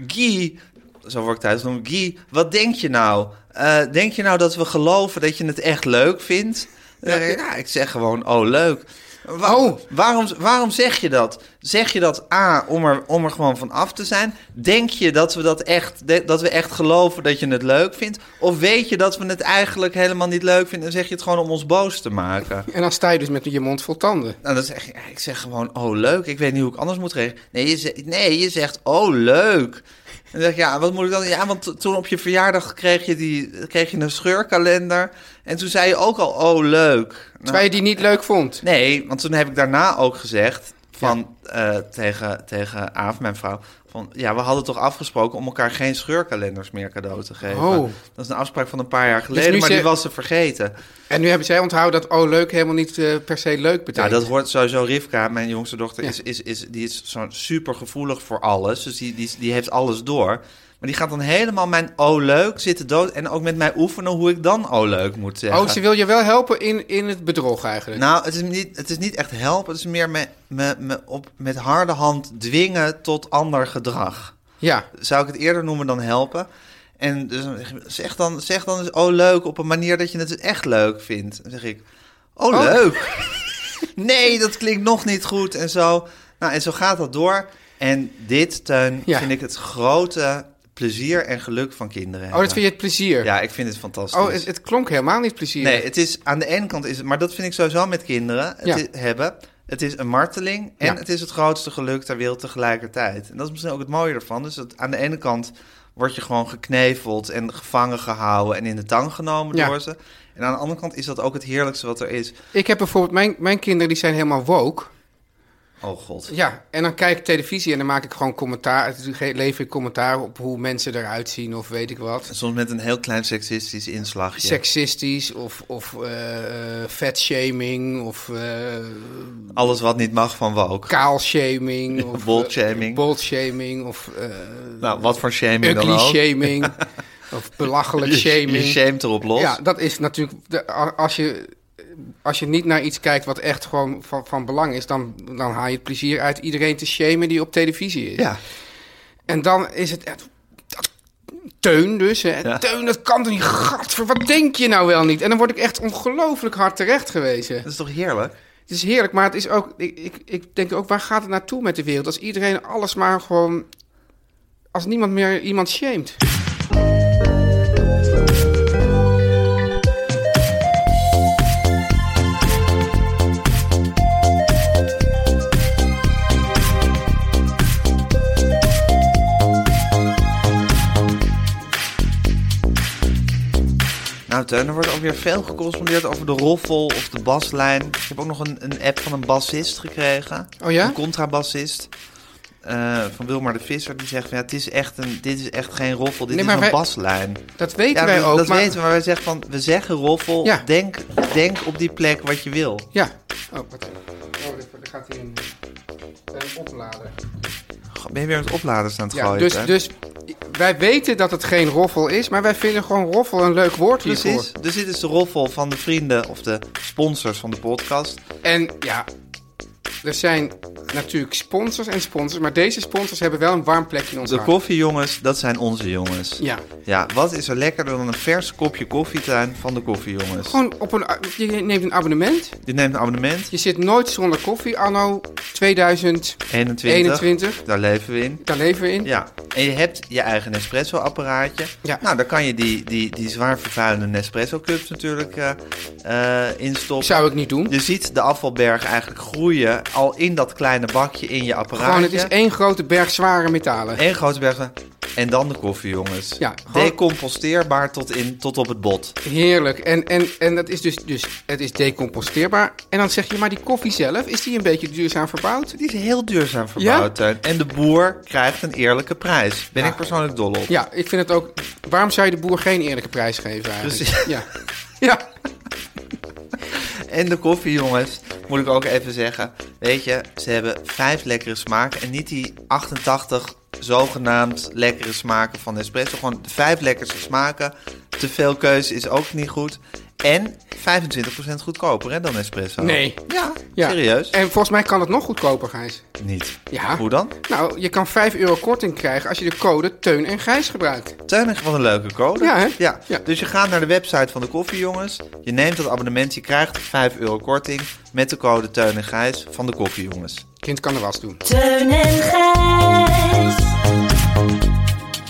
[SPEAKER 1] Guy, zo word ik thuis genoemd. Guy, wat denk je nou? Eh, denk je nou dat we geloven dat je het echt leuk vindt? Eh, Ja, ik zeg gewoon, oh leuk. Wa-
[SPEAKER 2] Oh.
[SPEAKER 1] Waarom, waarom zeg je dat? Zeg je dat A, om er, om er gewoon van af te zijn? Denk je dat we, dat, echt, de- dat we echt geloven dat je het leuk vindt? Of weet je dat we het eigenlijk helemaal niet leuk vinden... en zeg je het gewoon om ons boos te maken?
[SPEAKER 2] En dan sta je dus met je mond vol tanden.
[SPEAKER 1] Nou, dan zeg je, ik zeg gewoon, oh leuk, ik weet niet hoe ik anders moet reageren. Nee, je zegt, nee, je zegt oh leuk. En dan zeg je, ja, wat moet ik dan? Ja, want t- toen op je verjaardag kreeg je, die, kreeg je een scheurkalender. En toen zei je ook al, oh leuk. Nou,
[SPEAKER 2] Terwijl je die niet leuk vond.
[SPEAKER 1] Nee, want toen heb ik daarna ook gezegd van, eh, tegen, tegen Aaf, mijn vrouw... Van, ja, we hadden toch afgesproken om elkaar geen scheurkalenders meer cadeau te geven.
[SPEAKER 2] Oh. Dus
[SPEAKER 1] Dat is een afspraak van een paar jaar geleden,
[SPEAKER 2] nu
[SPEAKER 1] maar
[SPEAKER 2] ze-
[SPEAKER 1] die was ze vergeten.
[SPEAKER 2] En nu hebben zij onthouden dat oh leuk helemaal niet eh, per se leuk
[SPEAKER 1] Ja,
[SPEAKER 2] betekent.
[SPEAKER 1] dat hoort sowieso. Rivka, mijn jongste dochter,
[SPEAKER 2] Ja.
[SPEAKER 1] is, is, is, die is zo super gevoelig voor alles. Dus die, die, die heeft alles door. Maar die gaat dan helemaal mijn oh leuk zitten dood. En ook met mij oefenen hoe ik dan oh leuk moet zeggen.
[SPEAKER 2] Oh, ze wil je wel helpen in, in het bedrog eigenlijk.
[SPEAKER 1] Nou, het is, niet, het is niet echt helpen. Het is meer me, me, me op, met harde hand dwingen tot ander gedrag.
[SPEAKER 2] ja.
[SPEAKER 1] Zou ik het eerder noemen dan helpen? En dus dan zeg ik, zeg dan, zeg dan eens oh leuk op een manier dat je het echt leuk vindt. Dan zeg ik, oh,
[SPEAKER 2] Oh.
[SPEAKER 1] leuk. nee, dat klinkt nog niet goed en zo. Nou, en zo gaat dat door. En dit, Teun,
[SPEAKER 2] Ja.
[SPEAKER 1] vind ik het grote plezier en geluk van kinderen
[SPEAKER 2] Oh, dat vind je het plezier?
[SPEAKER 1] Ja, ik vind het fantastisch.
[SPEAKER 2] Oh, het, het klonk helemaal niet plezier.
[SPEAKER 1] Nee, het is aan de ene kant is het, maar dat vind ik sowieso met kinderen het
[SPEAKER 2] Ja.
[SPEAKER 1] i- hebben. Het is een marteling en
[SPEAKER 2] Ja.
[SPEAKER 1] het is het grootste geluk ter wereld tegelijkertijd. En dat is misschien ook het mooie ervan. Dus dat aan de ene kant word je gewoon gekneveld en gevangen gehouden en in de tang genomen
[SPEAKER 2] Ja.
[SPEAKER 1] door ze. En aan de andere kant is dat ook het heerlijkste wat er is.
[SPEAKER 2] Ik heb bijvoorbeeld, mijn, mijn kinderen die zijn helemaal woke.
[SPEAKER 1] Oh god.
[SPEAKER 2] Ja, en dan kijk ik televisie en dan maak ik gewoon commentaar, ge- lever ik commentaar op hoe mensen eruit zien of weet ik wat.
[SPEAKER 1] Soms met een heel klein seksistisch inslagje.
[SPEAKER 2] Sexistisch of, of eh fatshaming of eh
[SPEAKER 1] Alles wat niet mag van woke.
[SPEAKER 2] kaalshaming. of, eh,
[SPEAKER 1] Boltshaming.
[SPEAKER 2] boltshaming of eh,
[SPEAKER 1] nou, wat voor shaming dan
[SPEAKER 2] ugly
[SPEAKER 1] ook.
[SPEAKER 2] shaming of belachelijk
[SPEAKER 1] Je, je
[SPEAKER 2] shaming.
[SPEAKER 1] shamt erop los.
[SPEAKER 2] Ja, dat is natuurlijk. de- a- Als je, als je niet naar iets kijkt wat echt gewoon van, van belang is, dan, dan haal je het plezier uit iedereen te shamen die op televisie is.
[SPEAKER 1] ja.
[SPEAKER 2] En dan is het. het- dat- Teun dus, hè.
[SPEAKER 1] Ja.
[SPEAKER 2] Teun, dat kan toch niet? Gadver, wat denk je nou wel niet? En dan word ik echt ongelooflijk hard terecht gewezen.
[SPEAKER 1] Dat is toch heerlijk?
[SPEAKER 2] Het is heerlijk, maar het is ook... Ik, ik, ik denk ook, waar gaat het naartoe met de wereld? Als iedereen alles maar gewoon... Als niemand meer iemand shamed.
[SPEAKER 1] Nou, Teun, er wordt ook weer veel gecorrespondeerd over de roffel of de baslijn. Ik heb ook nog een, een app van een bassist gekregen.
[SPEAKER 2] Oh ja?
[SPEAKER 1] Een contrabassist. eh, van Wilmar de Visser. Die zegt, van, ja, het is echt een, dit is echt geen roffel, dit
[SPEAKER 2] Nee,
[SPEAKER 1] is
[SPEAKER 2] maar
[SPEAKER 1] een
[SPEAKER 2] wij-
[SPEAKER 1] baslijn.
[SPEAKER 2] Dat weten
[SPEAKER 1] Ja,
[SPEAKER 2] wij
[SPEAKER 1] dat,
[SPEAKER 2] ook.
[SPEAKER 1] dat
[SPEAKER 2] maar,
[SPEAKER 1] weten we, maar wij zeggen van, we zeggen roffel,
[SPEAKER 2] Ja.
[SPEAKER 1] denk, denk op die plek wat je wil.
[SPEAKER 2] Ja. Oh, wat? Oh, er er gaat hier een, eh, een oplader.
[SPEAKER 1] Goh, Ben je weer met opladers aan het
[SPEAKER 2] Ja,
[SPEAKER 1] gooien?
[SPEAKER 2] dus,
[SPEAKER 1] Teun?
[SPEAKER 2] dus wij weten dat het geen roffel is, maar wij vinden gewoon roffel een leuk woord hiervoor.
[SPEAKER 1] Precies. Dus dit is de roffel van de vrienden of de sponsors van de podcast.
[SPEAKER 2] En ja, er zijn natuurlijk sponsors en sponsors, maar deze sponsors hebben wel een warm plekje in ons
[SPEAKER 1] De
[SPEAKER 2] hart.
[SPEAKER 1] koffiejongens, dat zijn onze jongens.
[SPEAKER 2] Ja.
[SPEAKER 1] Ja, wat is er lekkerder dan een vers kopje koffietuin van de koffiejongens?
[SPEAKER 2] Gewoon op een, je neemt een abonnement.
[SPEAKER 1] Je neemt een abonnement,
[SPEAKER 2] Je zit nooit zonder koffie, anno 2000.
[SPEAKER 1] 21,
[SPEAKER 2] 21.
[SPEAKER 1] daar leven we in.
[SPEAKER 2] Daar leven we in.
[SPEAKER 1] Ja, en je hebt je eigen Nespresso-apparaatje.
[SPEAKER 2] Ja.
[SPEAKER 1] Nou, dan kan je die, die, die zwaar vervuilende Nespresso-cups natuurlijk eh, eh, instoppen.
[SPEAKER 2] Zou ik niet doen.
[SPEAKER 1] Je ziet de afvalberg eigenlijk groeien al in dat kleine bakje in je apparaatje.
[SPEAKER 2] Gewoon, het is één grote berg zware metalen.
[SPEAKER 1] Eén grote berg. En dan de koffie, jongens.
[SPEAKER 2] Ja, gewoon-
[SPEAKER 1] Decomposteerbaar tot, in, tot op het bot.
[SPEAKER 2] Heerlijk. En, en, en dat is dus, dus, het is decomposteerbaar. En dan zeg je, maar die koffie zelf, is die een beetje duurzaam verbouwd?
[SPEAKER 1] Die is heel duurzaam verbouwd. Teun. En de boer krijgt een eerlijke prijs. Ben
[SPEAKER 2] Ja.
[SPEAKER 1] ik persoonlijk dol op.
[SPEAKER 2] Ja, ik vind het ook... Waarom zou je de boer geen eerlijke prijs geven eigenlijk?
[SPEAKER 1] Precies.
[SPEAKER 2] Ja. ja.
[SPEAKER 1] En de koffie, jongens, moet ik ook even zeggen. Weet je, ze hebben vijf lekkere smaken. En niet die 88 zogenaamd lekkere smaken van Nespresso. Gewoon de vijf lekkerste smaken. Te veel keuze is ook niet goed. En 25% goedkoper hè, dan espresso.
[SPEAKER 2] Nee.
[SPEAKER 1] Ja,
[SPEAKER 2] Ja.
[SPEAKER 1] serieus?
[SPEAKER 2] En volgens mij kan het nog goedkoper, Gijs.
[SPEAKER 1] Niet.
[SPEAKER 2] Ja.
[SPEAKER 1] Hoe dan?
[SPEAKER 2] Nou, je kan 5 euro korting krijgen als je de code Teun en Gijs gebruikt.
[SPEAKER 1] Tuinig van een leuke code.
[SPEAKER 2] Ja, hè?
[SPEAKER 1] Ja.
[SPEAKER 2] Ja.
[SPEAKER 1] Dus je gaat naar de website van de koffiejongens. Je neemt dat abonnement. Je krijgt 5 euro korting met de code Teun en Gijs van de koffiejongens.
[SPEAKER 2] Kind kan er was doen.
[SPEAKER 5] Teun en Gijs.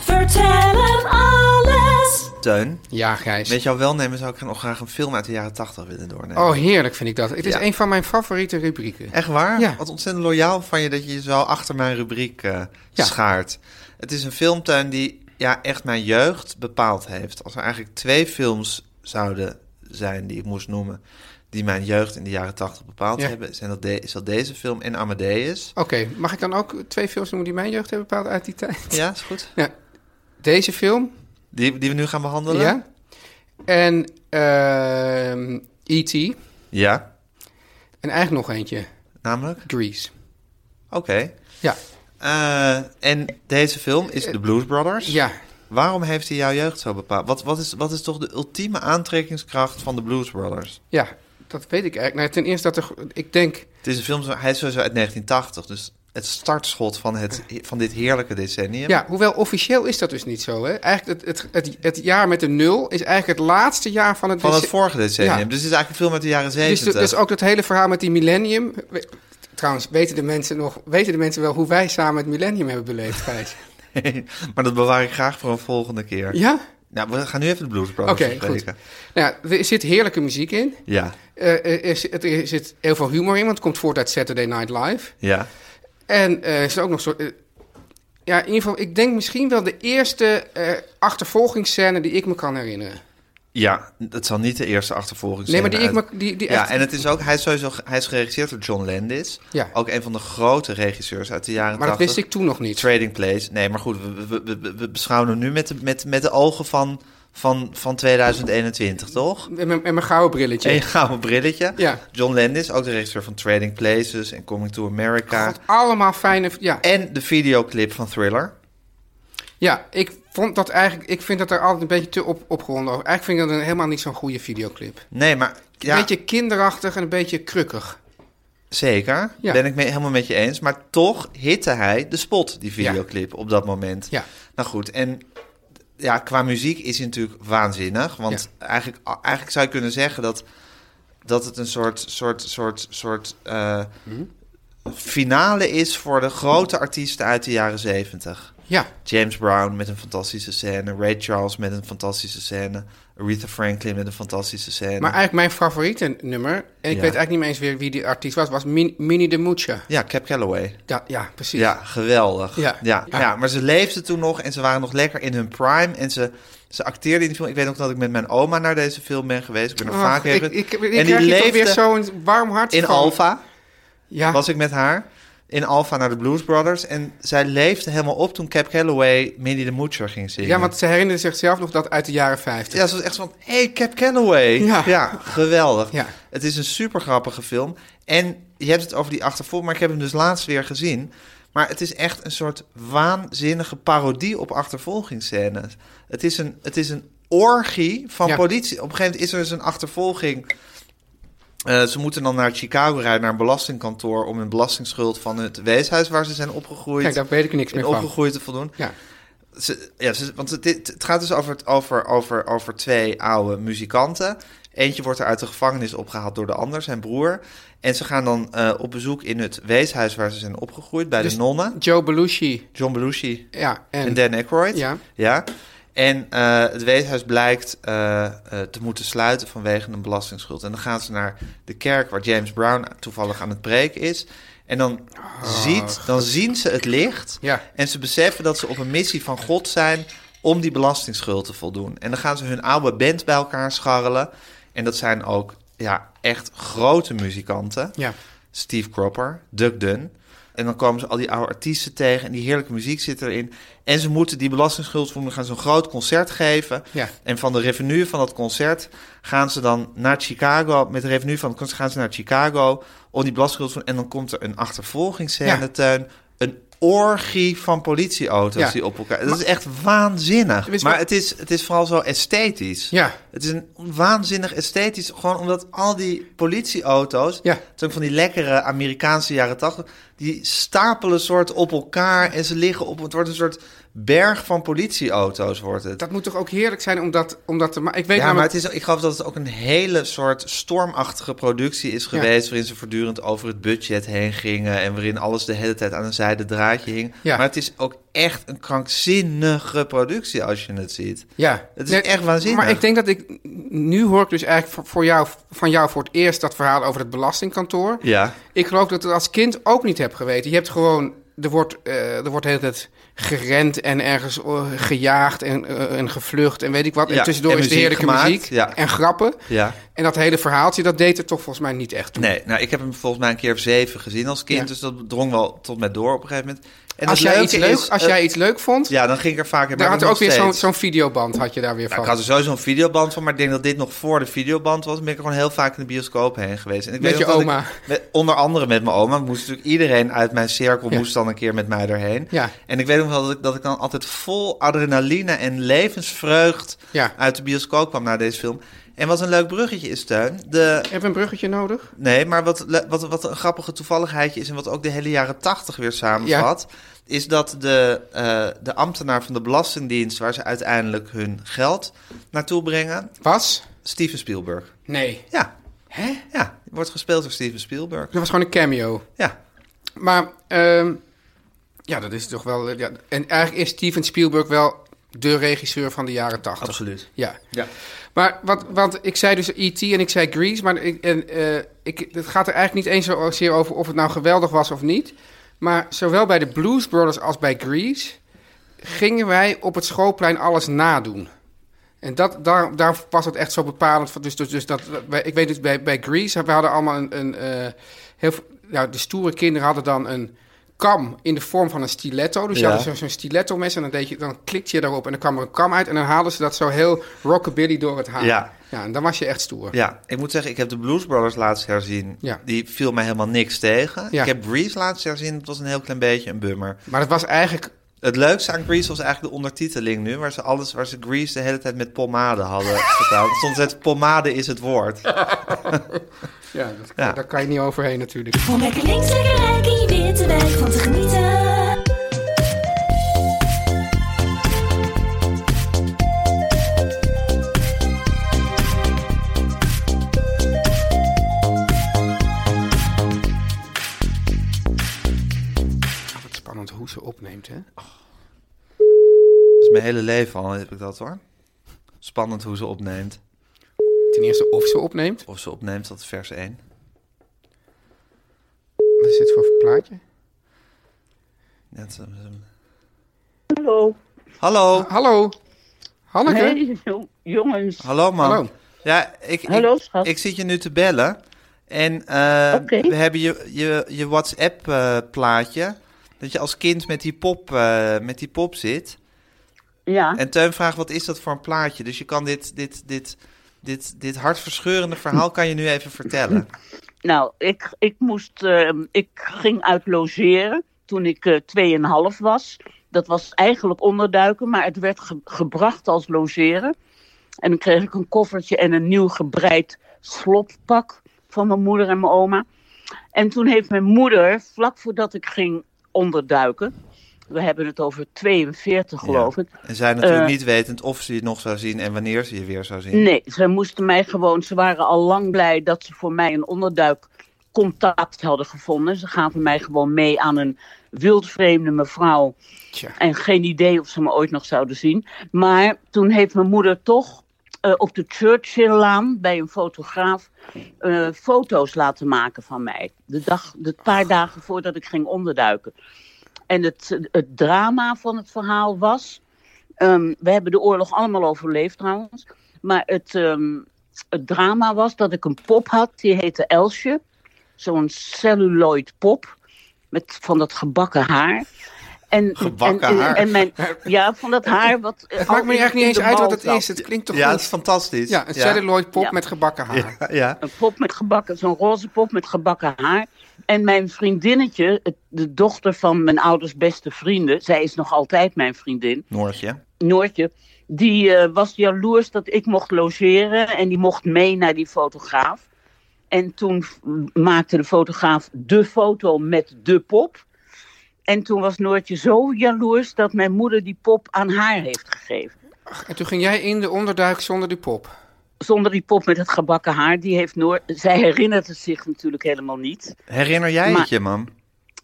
[SPEAKER 5] Vertel hem alles.
[SPEAKER 1] Teun,
[SPEAKER 2] Ja, Gijs.
[SPEAKER 1] met jouw welnemen zou ik nog graag een film uit de jaren 80 willen doornemen.
[SPEAKER 2] Oh, heerlijk vind ik dat. Het is
[SPEAKER 1] nou? Ja.
[SPEAKER 2] een van mijn favoriete rubrieken.
[SPEAKER 1] Echt waar?
[SPEAKER 2] Ja.
[SPEAKER 1] Wat ontzettend loyaal van je dat je je zo achter mijn rubriek eh,
[SPEAKER 2] Ja.
[SPEAKER 1] schaart. Het is een filmtuin die ja, echt mijn jeugd bepaald heeft. Als er eigenlijk twee films zouden zijn die ik moest noemen... die mijn jeugd in de jaren tachtig bepaald
[SPEAKER 2] Ja.
[SPEAKER 1] hebben... Zijn dat de- is dat deze film en Amadeus.
[SPEAKER 2] Oké, mag ik dan ook twee films noemen die mijn jeugd hebben bepaald uit die tijd?
[SPEAKER 1] Ja, is goed.
[SPEAKER 2] Ja. Deze film.
[SPEAKER 1] Die, die we nu gaan behandelen?
[SPEAKER 2] Ja. En ehm, E.T.
[SPEAKER 1] Ja,
[SPEAKER 2] En eigenlijk nog eentje.
[SPEAKER 1] namelijk?
[SPEAKER 2] Grease.
[SPEAKER 1] Oké.
[SPEAKER 2] Ja.
[SPEAKER 1] Eh, en deze film is The Blues Brothers.
[SPEAKER 2] Eh, Ja.
[SPEAKER 1] Waarom heeft hij jouw jeugd zo bepaald? Wat, wat, is, wat is toch de ultieme aantrekkingskracht van de Blues Brothers?
[SPEAKER 2] Ja. Dat weet ik eigenlijk. Nou, ten eerste dat er... Ik denk...
[SPEAKER 1] Het is een film, zo- hij is sowieso uit 1980, dus het startschot van, het, van dit heerlijke decennium.
[SPEAKER 2] Ja, hoewel officieel is dat dus niet zo. Hè? Eigenlijk het, het, het, het jaar met de nul is eigenlijk het laatste jaar van het...
[SPEAKER 1] Van het
[SPEAKER 2] dece-
[SPEAKER 1] vorige decennium.
[SPEAKER 2] Ja.
[SPEAKER 1] Dus het is eigenlijk een film uit de jaren
[SPEAKER 2] Dus,
[SPEAKER 1] 70.
[SPEAKER 2] de- dus ook dat hele verhaal met die millennium. We- Trouwens, weten de mensen, nog, weten de mensen wel hoe wij samen het millennium hebben beleefd, Gijs?
[SPEAKER 1] maar dat bewaar ik graag voor een volgende keer.
[SPEAKER 2] ja?
[SPEAKER 1] Nou, we gaan nu even de Blues
[SPEAKER 2] Oké,
[SPEAKER 1] Brothers
[SPEAKER 2] goed.
[SPEAKER 1] bespreken.
[SPEAKER 2] Nou, ja, er zit heerlijke muziek in.
[SPEAKER 1] Ja,
[SPEAKER 2] Eh, eh, er, zit, er zit heel veel humor in, want het komt voort uit Saturday Night Live.
[SPEAKER 1] ja.
[SPEAKER 2] En eh, er is ook nog zo... eh, ja, in ieder geval, ik denk misschien wel de eerste eh achtervolgingsscène die ik me kan herinneren.
[SPEAKER 1] Ja, het zal niet de eerste achtervolging
[SPEAKER 2] Nee,
[SPEAKER 1] zijn.
[SPEAKER 2] maar die ik
[SPEAKER 1] uit-
[SPEAKER 2] me... Die, die
[SPEAKER 1] Ja,
[SPEAKER 2] echt-
[SPEAKER 1] en het is ook, hij is sowieso, hij is geregisseerd door John Landis.
[SPEAKER 2] Ja.
[SPEAKER 1] Ook een van de grote regisseurs uit de jaren
[SPEAKER 2] maar dat
[SPEAKER 1] 80.
[SPEAKER 2] wist ik toen nog niet.
[SPEAKER 1] Trading Place. Nee, maar goed, we, we- we, we- we beschouwen hem nu met de, met, met de ogen van, van, van 2021, toch?
[SPEAKER 2] En mijn, en mijn gouden brilletje.
[SPEAKER 1] Een gouden brilletje.
[SPEAKER 2] Ja.
[SPEAKER 1] John Landis, ook de regisseur van Trading Places en Coming to America.
[SPEAKER 2] God, allemaal fijne... Ja,
[SPEAKER 1] En de videoclip van Thriller.
[SPEAKER 2] Ja, ik vond dat eigenlijk. Ik vind dat er altijd een beetje te op, opgewonden over. Eigenlijk vind ik dat een, helemaal niet zo'n goede videoclip.
[SPEAKER 1] Nee, maar
[SPEAKER 2] Een
[SPEAKER 1] ja,
[SPEAKER 2] beetje kinderachtig en een beetje krukkig.
[SPEAKER 1] zeker.
[SPEAKER 2] Ja.
[SPEAKER 1] Ben ik mee, helemaal met je eens. Maar toch hitte hij de spot, die videoclip, op dat moment.
[SPEAKER 2] Ja.
[SPEAKER 1] Nou goed, en ja, qua muziek is hij natuurlijk waanzinnig. Want eigenlijk, eigenlijk zou je kunnen zeggen dat, dat het een soort, soort, soort, soort eh,
[SPEAKER 2] Mhm.
[SPEAKER 1] finale is voor de grote artiesten uit de jaren zeventig.
[SPEAKER 2] Ja,
[SPEAKER 1] James Brown met een fantastische scène, Ray Charles met een fantastische scène, Aretha Franklin met een fantastische scène.
[SPEAKER 2] maar eigenlijk mijn favoriete nummer. En ik weet eigenlijk niet meer eens weer wie die artiest was. Was Min- Minnie de Mucha.
[SPEAKER 1] Ja, Cap Calloway.
[SPEAKER 2] Ja, ja, precies.
[SPEAKER 1] Ja, geweldig.
[SPEAKER 2] Ja.
[SPEAKER 1] Ja,
[SPEAKER 2] Ja.
[SPEAKER 1] ja, maar ze leefden toen nog en ze waren nog lekker in hun prime. En ze, ze acteerden in de film. Ik weet ook dat ik met mijn oma naar deze film ben geweest. Ik ben er
[SPEAKER 2] Ach,
[SPEAKER 1] vaak
[SPEAKER 2] ik,
[SPEAKER 1] even.
[SPEAKER 2] ik, ik, ik
[SPEAKER 1] en die
[SPEAKER 2] krijg hier toch weer
[SPEAKER 1] leefde
[SPEAKER 2] zo'n warm hart
[SPEAKER 1] in
[SPEAKER 2] van.
[SPEAKER 1] Alfa.
[SPEAKER 2] Ja,
[SPEAKER 1] Was ik met haar. In Alfa naar de Blues Brothers. En zij leefde helemaal op toen Cap Calloway Minnie de Moocher ging zingen.
[SPEAKER 2] ja, want ze herinnerde zichzelf nog dat uit de jaren 50.
[SPEAKER 1] Ja, ze was echt van, hey, Cap Calloway.
[SPEAKER 2] Ja.
[SPEAKER 1] geweldig.
[SPEAKER 2] Ja.
[SPEAKER 1] Het is een super grappige film. En je hebt het over die achtervolging, maar ik heb hem dus laatst weer gezien. Maar het is echt een soort waanzinnige parodie op achtervolgingsscènes. Het is een, het is een orgie van
[SPEAKER 2] Ja.
[SPEAKER 1] politie. Op een gegeven moment is er dus een achtervolging. Eh, ze moeten dan naar Chicago rijden, naar een belastingkantoor... om hun belastingsschuld van het weeshuis waar ze zijn opgegroeid...
[SPEAKER 2] Kijk, daar weet ik niks
[SPEAKER 1] in
[SPEAKER 2] meer van.
[SPEAKER 1] opgegroeid te voldoen.
[SPEAKER 2] Ja.
[SPEAKER 1] Ze- ja, ze- want het, dit- het gaat dus over, het- over, over, over twee oude muzikanten. Eentje wordt er uit de gevangenis opgehaald door de ander, zijn broer. En ze gaan dan eh, op bezoek in het weeshuis waar ze zijn opgegroeid, bij de nonnen.
[SPEAKER 2] Joe Belushi.
[SPEAKER 1] John Belushi
[SPEAKER 2] Ja, en,
[SPEAKER 1] en, Dan Aykroyd.
[SPEAKER 2] Ja.
[SPEAKER 1] ja. En eh, het weeshuis blijkt eh, eh, te moeten sluiten vanwege een belastingsschuld. En dan gaan ze naar de kerk waar James Brown toevallig aan het preken is. En dan, ziet, dan zien ze het licht.
[SPEAKER 2] Ah, Ja.
[SPEAKER 1] En ze beseffen dat ze op een missie van God zijn om die belastingsschuld te voldoen. En dan gaan ze hun oude band bij elkaar scharrelen. En dat zijn ook ja, echt grote muzikanten.
[SPEAKER 2] Ja.
[SPEAKER 1] Steve Cropper, Duck Dunn. En dan komen ze al die oude artiesten tegen en die heerlijke muziek zit erin. En ze moeten die belastingsschuld voelen, gaan ze een groot concert geven.
[SPEAKER 2] Ja.
[SPEAKER 1] En van de revenue van dat concert gaan ze dan naar Chicago. Met de revenue van het concert gaan ze naar Chicago om die belastingsschuld te voelen. En dan komt er een achtervolgingsscène,
[SPEAKER 2] Ja.
[SPEAKER 1] Teun. Een orgie van politieauto's
[SPEAKER 2] Ja.
[SPEAKER 1] die op elkaar... Dat is echt waanzinnig.
[SPEAKER 2] Wist je
[SPEAKER 1] Maar
[SPEAKER 2] wat-
[SPEAKER 1] het is, het is vooral zo esthetisch.
[SPEAKER 2] Ja.
[SPEAKER 1] Het is een waanzinnig esthetisch, gewoon omdat al die politieauto's,
[SPEAKER 2] Ja.
[SPEAKER 1] het zijn van die lekkere Amerikaanse jaren tachtig, die stapelen soort op elkaar en ze liggen op, het wordt een soort berg van politieauto's wordt het.
[SPEAKER 2] Dat moet toch ook heerlijk zijn om dat, om dat te maken? Ik weet
[SPEAKER 1] Ja, maar
[SPEAKER 2] namelijk-
[SPEAKER 1] het is, ik geloof dat het ook een hele soort stormachtige productie is geweest... waarin ze voortdurend over het budget heen gingen... en waarin alles de hele tijd aan een zijde draadje hing.
[SPEAKER 2] Ja.
[SPEAKER 1] Maar het is ook echt een krankzinnige productie als je het ziet.
[SPEAKER 2] Ja.
[SPEAKER 1] Het is echt waanzinnig.
[SPEAKER 2] Maar ik denk dat ik... Nu hoor ik dus eigenlijk voor- voor jou, van jou voor het eerst dat verhaal over het belastingkantoor.
[SPEAKER 1] Ja.
[SPEAKER 2] Ik geloof dat ik dat als kind ook niet heb geweten. Je hebt gewoon... Er wordt, eh, er wordt de hele tijd gerend en ergens eh, gejaagd en, eh, en gevlucht en weet ik wat. En
[SPEAKER 1] Ja,
[SPEAKER 2] tussendoor
[SPEAKER 1] en
[SPEAKER 2] is de
[SPEAKER 1] muziek
[SPEAKER 2] heerlijke
[SPEAKER 1] gemaakt,
[SPEAKER 2] muziek
[SPEAKER 1] ja.
[SPEAKER 2] en grappen.
[SPEAKER 1] Ja.
[SPEAKER 2] En dat hele verhaaltje, dat deed er toch volgens mij niet echt toe.
[SPEAKER 1] Nee, nou, ik heb hem volgens mij een keer of zeven gezien als kind...
[SPEAKER 2] Ja.
[SPEAKER 1] dus dat drong wel tot mij door op een gegeven moment. En
[SPEAKER 2] als
[SPEAKER 1] het
[SPEAKER 2] jij,
[SPEAKER 1] leuke
[SPEAKER 2] iets leuk,
[SPEAKER 1] is,
[SPEAKER 2] als
[SPEAKER 1] eh,
[SPEAKER 2] jij iets leuk vond,
[SPEAKER 1] Ja, dan ging ik er vaak in.
[SPEAKER 2] daar
[SPEAKER 1] maar
[SPEAKER 2] had
[SPEAKER 1] dat
[SPEAKER 2] ook
[SPEAKER 1] nog
[SPEAKER 2] weer zo'n
[SPEAKER 1] steeds.
[SPEAKER 2] zo'n videoband had je daar weer
[SPEAKER 1] Ja,
[SPEAKER 2] van.
[SPEAKER 1] ik had er sowieso een videoband van, maar ik denk dat dit nog voor de videoband was. Dan ben ik er gewoon heel vaak in de bioscoop heen geweest. En ik
[SPEAKER 2] Met
[SPEAKER 1] weet
[SPEAKER 2] je
[SPEAKER 1] nog dat
[SPEAKER 2] oma.
[SPEAKER 1] ik- met- onder andere met mijn oma. Moest natuurlijk iedereen uit mijn cirkel
[SPEAKER 2] Ja.
[SPEAKER 1] moest dan een keer met mij erheen.
[SPEAKER 2] Ja.
[SPEAKER 1] En ik weet nog wel dat ik, dat ik dan altijd vol adrenaline en levensvreugd
[SPEAKER 2] Ja.
[SPEAKER 1] uit de bioscoop kwam naar deze film. En wat een leuk bruggetje is, Teun. De,
[SPEAKER 2] Heb je een bruggetje nodig?
[SPEAKER 1] Nee, maar wat, le- wat, wat een grappige toevalligheidje is... en wat ook de hele jaren tachtig weer samenvat... is dat de, eh, de ambtenaar van de Belastingdienst... waar ze uiteindelijk hun geld naartoe brengen...
[SPEAKER 2] Was?
[SPEAKER 1] Steven Spielberg.
[SPEAKER 2] Nee.
[SPEAKER 1] Ja,
[SPEAKER 2] Hè?
[SPEAKER 1] ja. Wordt gespeeld door Steven Spielberg.
[SPEAKER 2] Dat was gewoon een cameo.
[SPEAKER 1] Ja.
[SPEAKER 2] Maar, ehm, ja, dat is toch wel... eh, Ja. En eigenlijk is Steven Spielberg wel de regisseur van de jaren tachtig.
[SPEAKER 1] Absoluut.
[SPEAKER 2] Ja.
[SPEAKER 1] Ja.
[SPEAKER 2] Maar wat, want ik zei dus E.T. en ik zei Grease, maar ik, en, eh, ik, het gaat er eigenlijk niet eens zozeer over of het nou geweldig was of niet. Maar zowel bij de Blues Brothers als bij Grease gingen wij op het schoolplein alles nadoen. En dat, daar, daar was het echt zo bepalend. van. Dus, dus, dus dat, wij- ik weet dus bij, bij Grease, we hadden allemaal een... een eh, heel, veel- nou, de stoere kinderen hadden dan een kam in de vorm van een stiletto. Dus je
[SPEAKER 1] Ja.
[SPEAKER 2] had zo'n stiletto mes en dan, deed je, dan klikte je daarop en dan kwam er een kam uit. En dan haalden ze dat zo heel rockabilly door het haar.
[SPEAKER 1] Ja.
[SPEAKER 2] en dan was je echt stoer.
[SPEAKER 1] Ja, ik moet zeggen, ik heb de Blues Brothers laatst herzien.
[SPEAKER 2] Ja.
[SPEAKER 1] Die viel mij helemaal niks tegen.
[SPEAKER 2] Ja.
[SPEAKER 1] Ik heb Grease laatst herzien. Het was een heel klein beetje een bummer.
[SPEAKER 2] Maar dat was eigenlijk...
[SPEAKER 1] Het leukste aan Grease was eigenlijk de ondertiteling nu, waar ze alles, waar ze Grease de hele tijd met pomade hadden vertaald. Er Stond het pomade is het woord.
[SPEAKER 2] Ja, dat,
[SPEAKER 1] Ja.
[SPEAKER 2] daar kan je niet overheen natuurlijk.
[SPEAKER 5] Om lekker links, lekker rijk in je witte wijk van te genieten.
[SPEAKER 2] Ah, wat spannend hoe ze opneemt, hè?
[SPEAKER 1] Dat is mijn hele leven al heb ik dat hoor. Spannend hoe ze opneemt.
[SPEAKER 2] Ten eerste of ze opneemt.
[SPEAKER 1] Of ze opneemt tot vers 1.
[SPEAKER 2] Wat is dit voor plaatje?
[SPEAKER 1] Net zo-
[SPEAKER 6] Hallo.
[SPEAKER 1] Hallo.
[SPEAKER 2] Hallo. Hanneke?
[SPEAKER 6] Hey, jo- jongens.
[SPEAKER 1] Hallo man.
[SPEAKER 2] Hallo.
[SPEAKER 1] Ja, ik, ik,
[SPEAKER 6] Hallo, schat.
[SPEAKER 1] ik zit je nu te bellen. En eh,
[SPEAKER 6] Oké.
[SPEAKER 1] we hebben je, je, je WhatsApp eh, plaatje. Dat je als kind met die pop, eh, met die pop zit.
[SPEAKER 6] Ja,
[SPEAKER 1] En Teun vraagt, wat is dat voor een plaatje? Dus je kan dit, dit, dit, dit, dit hartverscheurende verhaal kan je nu even vertellen.
[SPEAKER 6] nou, ik, ik, moest, eh, ik ging uit logeren toen ik eh 2,5 was. Dat was eigenlijk onderduiken, maar het werd ge- gebracht als logeren. En dan kreeg ik een koffertje en een nieuw gebreid sloppak van mijn moeder en mijn oma. En toen heeft mijn moeder, vlak voordat ik ging onderduiken... We hebben het over 42, geloof
[SPEAKER 1] Ja.
[SPEAKER 6] ik.
[SPEAKER 1] En zij natuurlijk
[SPEAKER 6] Eh.
[SPEAKER 1] niet wetend of ze je nog zou zien en wanneer ze je weer zou zien.
[SPEAKER 6] Nee, ze moesten mij gewoon. Ze waren al lang blij dat ze voor mij een onderduikcontact hadden gevonden. Ze gaven mij gewoon mee aan een wildvreemde mevrouw.
[SPEAKER 2] Tja.
[SPEAKER 6] En geen idee of ze me ooit nog zouden zien. Maar toen heeft mijn moeder toch eh, op de Churchilllaan bij een fotograaf eh, foto's laten maken van mij. De, dag, de paar dagen voordat ik ging onderduiken. En het, het drama van het verhaal was. Ehm, we hebben de oorlog allemaal overleefd trouwens. Maar het, ehm, het drama was dat ik een pop had, die heette Elsje. Zo'n celluloid pop. Met van dat gebakken haar. En,
[SPEAKER 1] Gebakken
[SPEAKER 6] en, en-
[SPEAKER 1] haar.
[SPEAKER 6] En mijn, ja, van dat haar wat. eh,
[SPEAKER 2] Het maakt me eigenlijk niet eens uit wat het is. Het klinkt toch
[SPEAKER 1] Ja,
[SPEAKER 2] niet...
[SPEAKER 1] het is fantastisch.
[SPEAKER 2] Ja, een celluloid pop
[SPEAKER 6] Ja.
[SPEAKER 2] met gebakken haar.
[SPEAKER 1] Ja, ja.
[SPEAKER 6] Een pop met gebakken, zo'n roze pop met gebakken haar. En mijn vriendinnetje, het- de dochter van mijn ouders beste vrienden, zij is nog altijd mijn vriendin,
[SPEAKER 1] Noortje.
[SPEAKER 6] Noortje, Die eh, was jaloers dat ik mocht logeren en die mocht mee naar die fotograaf. En toen f- maakte de fotograaf de foto met de pop. En toen was Noortje zo jaloers dat mijn moeder die pop aan haar heeft gegeven.
[SPEAKER 2] En toen ging jij in de onderduik zonder die pop.
[SPEAKER 6] Zonder die pop met het gebakken haar, die heeft Noor... zij herinnert het zich natuurlijk helemaal niet.
[SPEAKER 1] Herinner jij
[SPEAKER 6] Maar-
[SPEAKER 1] het je, mam?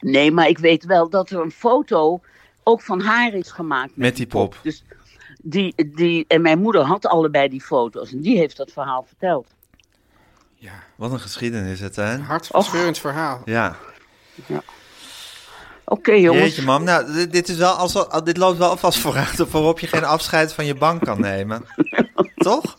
[SPEAKER 6] Nee, maar ik weet wel dat er een foto ook van haar is gemaakt.
[SPEAKER 1] Met die pop.
[SPEAKER 6] Dus die, die, en mijn moeder had allebei die foto's en die heeft dat verhaal verteld.
[SPEAKER 1] Wat een geschiedenis het, hè?
[SPEAKER 2] Hartverscheurend verhaal.
[SPEAKER 1] Ja.
[SPEAKER 6] Oké jongens,
[SPEAKER 1] Jeetje, mam. Nou, dit, dit is wel als, al- dit loopt wel alvast vooruit op waarop je geen afscheid van je bank kan nemen. Toch?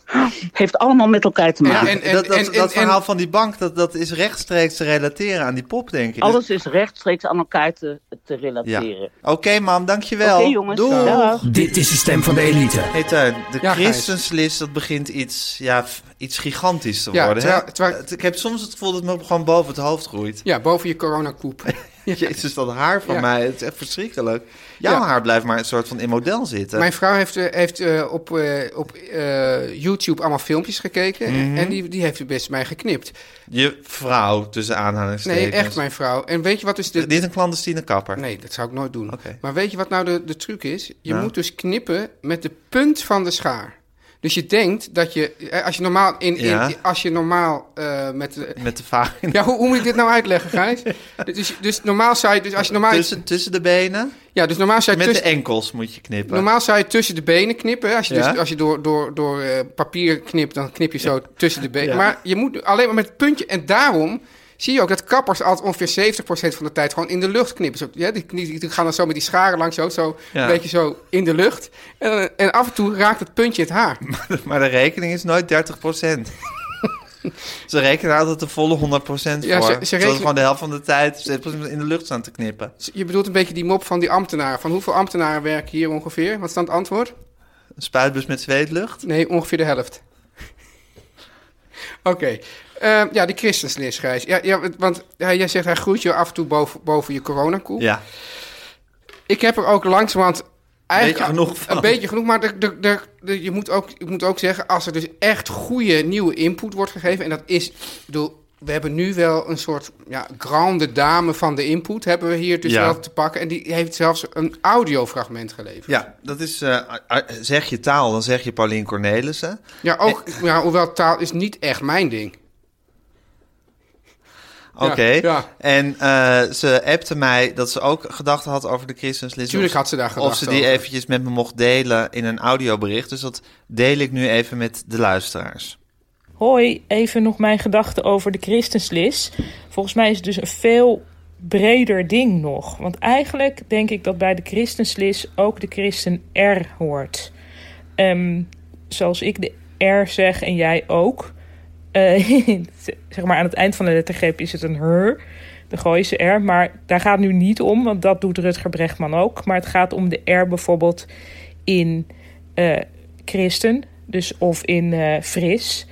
[SPEAKER 6] heeft allemaal met elkaar te maken.
[SPEAKER 2] en- en-
[SPEAKER 1] dat, dat,
[SPEAKER 2] en- en-
[SPEAKER 1] dat verhaal van die bank, dat, dat is rechtstreeks te relateren aan die pop, denk ik.
[SPEAKER 6] Alles is rechtstreeks aan elkaar te, te relateren.
[SPEAKER 1] Oké, mam, dankjewel.
[SPEAKER 6] Oké, jongens.
[SPEAKER 1] Doei.
[SPEAKER 6] Dag.
[SPEAKER 4] Dit is de stem van de elite.
[SPEAKER 1] Hey Teun, de
[SPEAKER 2] Ja, Gijs.
[SPEAKER 1] christenslist, dat begint iets, ja, f- iets gigantisch te
[SPEAKER 2] Ja,
[SPEAKER 1] worden. hè?
[SPEAKER 2] terwijl- terwijl-
[SPEAKER 1] Het- Ik heb soms het gevoel dat het me gewoon boven het hoofd groeit.
[SPEAKER 2] Ja, boven je coronakoep.
[SPEAKER 1] Jezus, dat haar van
[SPEAKER 2] Ja.
[SPEAKER 1] mij, het is echt verschrikkelijk. Jouw
[SPEAKER 2] Ja.
[SPEAKER 1] haar blijft maar een soort van in model zitten.
[SPEAKER 2] Mijn vrouw heeft, eh, heeft eh, op, eh, op eh, YouTube allemaal filmpjes gekeken.
[SPEAKER 1] Mhm.
[SPEAKER 2] En die, die heeft best mij geknipt.
[SPEAKER 1] Je vrouw, tussen aanhalingstekens.
[SPEAKER 2] Nee, echt mijn vrouw. En weet je wat is de...
[SPEAKER 1] Dit is een clandestine kapper.
[SPEAKER 2] Nee, dat zou ik nooit doen.
[SPEAKER 1] Oké.
[SPEAKER 2] Maar weet je wat nou de, de truc is? Je
[SPEAKER 1] Nou?
[SPEAKER 2] moet dus knippen met de punt van de schaar. Dus je denkt dat je... eh, Als je normaal, in, in-
[SPEAKER 1] Ja.
[SPEAKER 2] als je normaal eh, met... de-
[SPEAKER 1] Met de vagina.
[SPEAKER 2] ja, hoe, hoe moet ik dit nou uitleggen, Gijs? dus, dus normaal zou je... Dus als je normaal,
[SPEAKER 1] Tussen, tussen de benen.
[SPEAKER 2] ja, dus normaal zou je
[SPEAKER 1] Met
[SPEAKER 2] tussen,
[SPEAKER 1] de enkels moet je knippen.
[SPEAKER 2] Normaal zou je tussen de benen knippen. hè? Als je,
[SPEAKER 1] Ja.
[SPEAKER 2] dus, als je door, door, door eh, papier knipt, dan knip je zo tussen de benen. Maar je moet alleen maar met het puntje. En daarom zie je ook dat kappers altijd ongeveer 70% van de tijd gewoon in de lucht knippen. Zo, ja, die, die, die gaan dan zo met die scharen langs, zo, zo
[SPEAKER 1] Ja.
[SPEAKER 2] een beetje zo in de lucht. En, dan- en af en toe raakt het puntje het haar.
[SPEAKER 1] Maar de rekening is nooit 30 ze rekenen altijd de volle 100 procent voor.
[SPEAKER 2] Ja, ze- ze
[SPEAKER 1] Terwijl ze
[SPEAKER 2] rekenen-
[SPEAKER 1] gewoon de helft van de tijd 70% in de lucht staan te knippen.
[SPEAKER 2] Dus je bedoelt een beetje die mop van die ambtenaren. Van hoeveel ambtenaren werken hier ongeveer? Wat is dan het antwoord?
[SPEAKER 1] Een spuitbus met zweetlucht.
[SPEAKER 2] Nee, ongeveer de helft. Oké. Eh, ja, die christenslis, Gijs. Ja, ja, want ja, jij zegt hij groeit je af en toe boven, boven je coronakoek.
[SPEAKER 1] Ja.
[SPEAKER 2] Ik heb er ook langzamerhand... Eigenlijk
[SPEAKER 1] Beetje genoeg van.
[SPEAKER 2] Een beetje genoeg, maar de, de, de, de- je, moet ook, ik moet ook zeggen... als er dus echt goede nieuwe input wordt gegeven... en dat is... Ik bedoel, we hebben nu wel een soort ja, grande dame van de input... hebben we hier dus
[SPEAKER 1] Ja.
[SPEAKER 2] wel te pakken. En die heeft zelfs een audiofragment geleverd.
[SPEAKER 1] Ja, dat is... eh, a- a- zeg je taal, dan zeg je Paulien Cornelissen.
[SPEAKER 2] Ja, ook, ja, hoewel taal is niet echt mijn ding.
[SPEAKER 1] Oké.
[SPEAKER 2] ja.
[SPEAKER 1] En eh, ze appte mij dat ze ook gedachten had over de christenslis.
[SPEAKER 2] Tuurlijk
[SPEAKER 1] Of-
[SPEAKER 2] had ze daar
[SPEAKER 1] Of
[SPEAKER 2] gedachten
[SPEAKER 1] ze die
[SPEAKER 2] over.
[SPEAKER 1] eventjes met me mocht delen in een audiobericht. Dus dat deel ik nu even met de luisteraars.
[SPEAKER 7] Hoi, even nog mijn gedachten over de christenslis. Volgens mij is het dus een veel breder ding nog. Want eigenlijk denk ik dat bij de christenslis ook de christen R hoort. Ehm, zoals ik de R zeg en jij ook. Eh, zeg maar aan het eind van de lettergreep is het een her, de Gooise R. Maar daar gaat het nu niet om, want dat doet Rutger Brechtman ook. Maar het gaat om de R bijvoorbeeld in eh, christen, dus of in eh fris.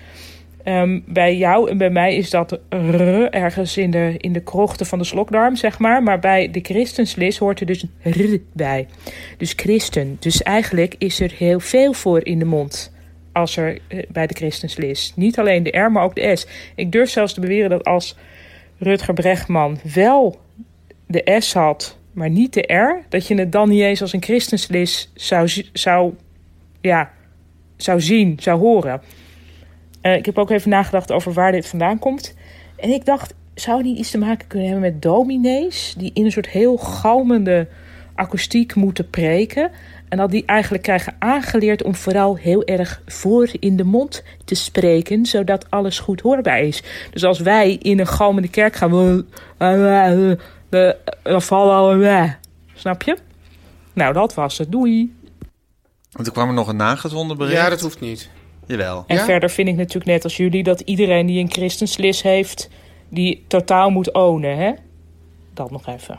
[SPEAKER 7] Ehm, bij jou en bij mij is dat r ergens in de, in de krochten van de slokdarm, zeg maar. Maar bij de christenslis hoort er dus een r bij. Dus christen. Dus eigenlijk is er heel veel voor in de mond. Als er eh, bij de christenslis. Niet alleen de r, maar ook de s. Ik durf zelfs te beweren dat als Rutger Brechtman wel de s had, maar niet de r, dat je het dan niet eens als een christenslis zou, zi- zou, ja, zou zien, zou horen. Eh, ik heb ook even nagedacht over waar dit vandaan komt. En ik dacht, zou die iets te maken kunnen hebben met dominees? Die in een soort heel galmende akoestiek moeten preken. En dat die eigenlijk krijgen aangeleerd om vooral heel erg voor in de mond te spreken. Zodat alles goed hoorbaar is. Dus als wij in een galmende kerk gaan... Dan vallen we... Snap je? Nou, dat was het. Doei.
[SPEAKER 1] Want er kwam er nog een nagezonden bericht.
[SPEAKER 2] Ja, dat hoeft niet.
[SPEAKER 1] Jawel.
[SPEAKER 7] En
[SPEAKER 2] Ja?
[SPEAKER 7] verder vind ik natuurlijk net als jullie dat iedereen die een christenslis heeft, die totaal moet ownen, hè? Dat nog even.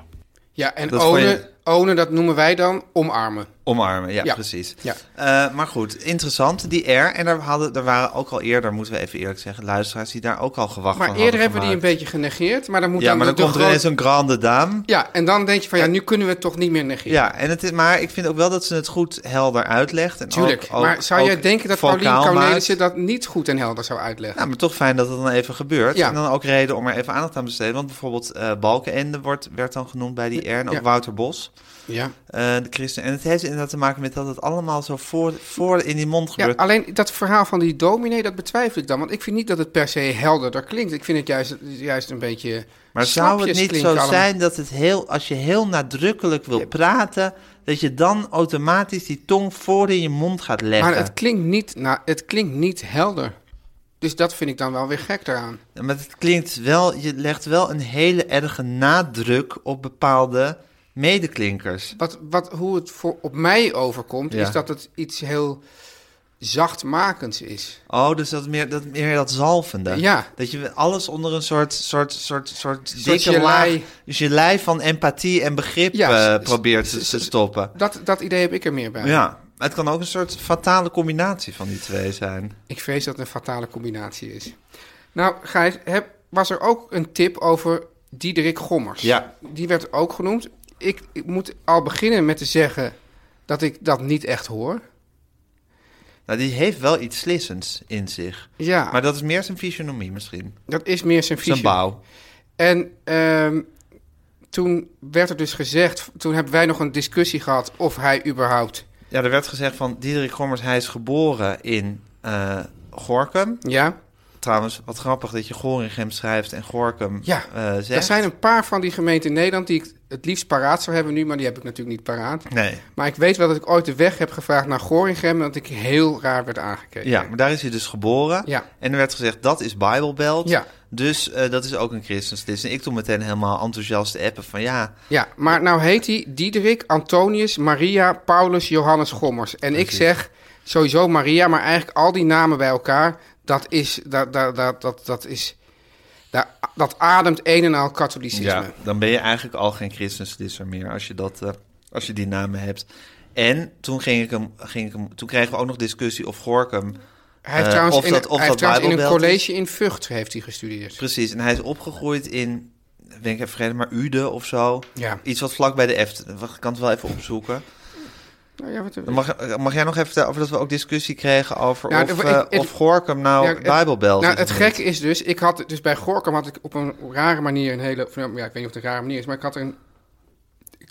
[SPEAKER 2] Ja, en
[SPEAKER 1] Dat
[SPEAKER 2] ownen,
[SPEAKER 1] vond
[SPEAKER 2] ownen, dat noemen wij dan omarmen.
[SPEAKER 1] Omarmen, ja,
[SPEAKER 2] Ja.
[SPEAKER 1] precies.
[SPEAKER 2] Ja.
[SPEAKER 1] Eh, maar goed, interessant, die R. En daar, hadden, daar waren ook al eerder, moeten we even eerlijk zeggen, luisteraars die daar ook al gewacht
[SPEAKER 2] Maar
[SPEAKER 1] van
[SPEAKER 2] eerder
[SPEAKER 1] hadden
[SPEAKER 2] hebben we die een
[SPEAKER 1] gemaakt.
[SPEAKER 2] beetje genegeerd. Maar dan moet
[SPEAKER 1] Ja, maar dan
[SPEAKER 2] de- de
[SPEAKER 1] komt er
[SPEAKER 2] grote-
[SPEAKER 1] ineens een grande dame.
[SPEAKER 2] Ja, en dan denk je van ja, nu kunnen we het toch niet meer negeren.
[SPEAKER 1] Ja, en het is, maar ik vind ook wel dat ze het goed helder uitlegt. En
[SPEAKER 2] Tuurlijk.
[SPEAKER 1] ook- ook-
[SPEAKER 2] maar zou jij
[SPEAKER 1] ook
[SPEAKER 2] denken dat
[SPEAKER 1] vocaal
[SPEAKER 2] Paulien
[SPEAKER 1] maakt?
[SPEAKER 2] Cornelissen dat niet goed en helder zou uitleggen?
[SPEAKER 1] Ja, maar toch fijn dat het dan even gebeurt.
[SPEAKER 2] Ja.
[SPEAKER 1] En dan ook reden om er even aandacht aan te besteden. Want bijvoorbeeld eh Balkenende wordt, werd dan genoemd bij die R. En ook
[SPEAKER 2] Ja.
[SPEAKER 1] Wouter Bos,
[SPEAKER 2] ja.
[SPEAKER 1] eh, de christen. En het heeft inderdaad te maken met dat het allemaal zo voor, voor in die mond
[SPEAKER 2] Ja,
[SPEAKER 1] gebeurt.
[SPEAKER 2] alleen dat verhaal van die dominee, dat betwijfel ik dan. Want ik vind niet dat het per se helderder klinkt. Ik vind het juist, juist een beetje
[SPEAKER 1] maar zou het
[SPEAKER 2] slapjes
[SPEAKER 1] niet zo
[SPEAKER 2] klinken allemaal.
[SPEAKER 1] zijn dat het heel, als je heel nadrukkelijk wil praten... dat je dan automatisch die tong voor in je mond gaat leggen?
[SPEAKER 2] Maar het klinkt, niet, nou, het klinkt niet helder. Dus dat vind ik dan wel weer gek eraan.
[SPEAKER 1] Ja, Maar het klinkt wel, je legt wel een hele erge nadruk op bepaalde medeklinkers.
[SPEAKER 2] Wat, wat, hoe het voor, op mij overkomt,
[SPEAKER 1] Ja.
[SPEAKER 2] is dat het iets heel zachtmakends is.
[SPEAKER 1] Oh, dus dat meer dat, meer dat zalvende.
[SPEAKER 2] Ja.
[SPEAKER 1] Dat je alles onder een soort, soort, soort, soort dikke
[SPEAKER 2] gelei.
[SPEAKER 1] laag... Dus je lei van empathie en begrip
[SPEAKER 2] Ja,
[SPEAKER 1] eh,
[SPEAKER 2] s-
[SPEAKER 1] probeert
[SPEAKER 2] s-
[SPEAKER 1] te,
[SPEAKER 2] s-
[SPEAKER 1] te stoppen.
[SPEAKER 2] Dat, dat idee heb ik er meer bij.
[SPEAKER 1] Ja. Maar het kan ook een soort fatale combinatie van die twee zijn.
[SPEAKER 2] Ik vrees dat het een fatale combinatie is. Nou, Gijs, heb, was er ook een tip over Diederik Gommers?
[SPEAKER 1] Ja.
[SPEAKER 2] Die werd ook genoemd. Ik, ik moet al beginnen met te zeggen dat ik dat niet echt hoor.
[SPEAKER 1] Nou, die heeft wel iets slissends in zich.
[SPEAKER 2] Ja,
[SPEAKER 1] Maar dat is meer zijn fysionomie misschien.
[SPEAKER 2] dat is meer zijn
[SPEAKER 1] Zijn
[SPEAKER 2] visie.
[SPEAKER 1] bouw.
[SPEAKER 2] En ehm, toen werd er dus gezegd, toen hebben wij nog een discussie gehad of hij überhaupt...
[SPEAKER 1] Ja, er werd gezegd van Diederik Gommers, hij is geboren in eh, Gorkum.
[SPEAKER 2] Ja,
[SPEAKER 1] Trouwens, wat grappig dat je Gorinchem schrijft en Gorkum
[SPEAKER 2] ja.
[SPEAKER 1] eh, zegt.
[SPEAKER 2] er zijn een paar van die gemeenten in Nederland die ik het liefst paraat zou hebben nu, maar die heb ik natuurlijk niet paraat.
[SPEAKER 1] Nee.
[SPEAKER 2] Maar ik weet wel dat ik ooit de weg heb gevraagd naar Gorinchem... en dat ik heel raar werd aangekeken.
[SPEAKER 1] Ja, maar daar is hij dus geboren.
[SPEAKER 2] Ja.
[SPEAKER 1] En er werd gezegd, dat is Bijbelbelt.
[SPEAKER 2] Ja.
[SPEAKER 1] Dus eh, dat is ook een christenslis. En ik toen meteen helemaal enthousiast te appen van ja,
[SPEAKER 2] Ja, maar nou heet hij Diederik, Antonius, Maria, Paulus, Johannes Gommers. En ik zeg sowieso Maria, maar eigenlijk al die namen bij elkaar... dat is... dat, dat, dat, dat, dat is dat, dat ademt een en al katholicisme.
[SPEAKER 1] ja, dan ben je eigenlijk al geen dus christenslisser meer als je, dat, eh, als je die namen hebt. En toen, ging ik hem, ging ik hem, toen kregen we ook nog discussie of Gorkum...
[SPEAKER 2] Hij heeft
[SPEAKER 1] eh,
[SPEAKER 2] trouwens,
[SPEAKER 1] of
[SPEAKER 2] in,
[SPEAKER 1] dat- of
[SPEAKER 2] hij heeft
[SPEAKER 1] dat
[SPEAKER 2] trouwens in een
[SPEAKER 1] Bijbelbelt is.
[SPEAKER 2] college in Vught heeft hij gestudeerd.
[SPEAKER 1] Precies, en hij is opgegroeid in, ben ik even vergeten, maar Ude of zo.
[SPEAKER 2] Ja.
[SPEAKER 1] Iets wat vlak bij de Eft. Ik kan het wel even opzoeken.
[SPEAKER 2] Nou ja, wat-
[SPEAKER 1] Dan Mag, eh, mag jij nog even vertellen over dat we ook discussie kregen over
[SPEAKER 2] Nou,
[SPEAKER 1] of,
[SPEAKER 2] ik-
[SPEAKER 1] eh,
[SPEAKER 2] het-
[SPEAKER 1] of Gorkum nou
[SPEAKER 2] Ja,
[SPEAKER 1] ja,
[SPEAKER 2] het-
[SPEAKER 1] Bijbelbelt
[SPEAKER 2] Nou,
[SPEAKER 1] is
[SPEAKER 2] het
[SPEAKER 1] of
[SPEAKER 2] gekke
[SPEAKER 1] niet?
[SPEAKER 2] is dus, ik had dus bij Gorkum had ik op een rare manier een hele, of nou, ja, ik weet niet of het een rare manier is, maar ik had er een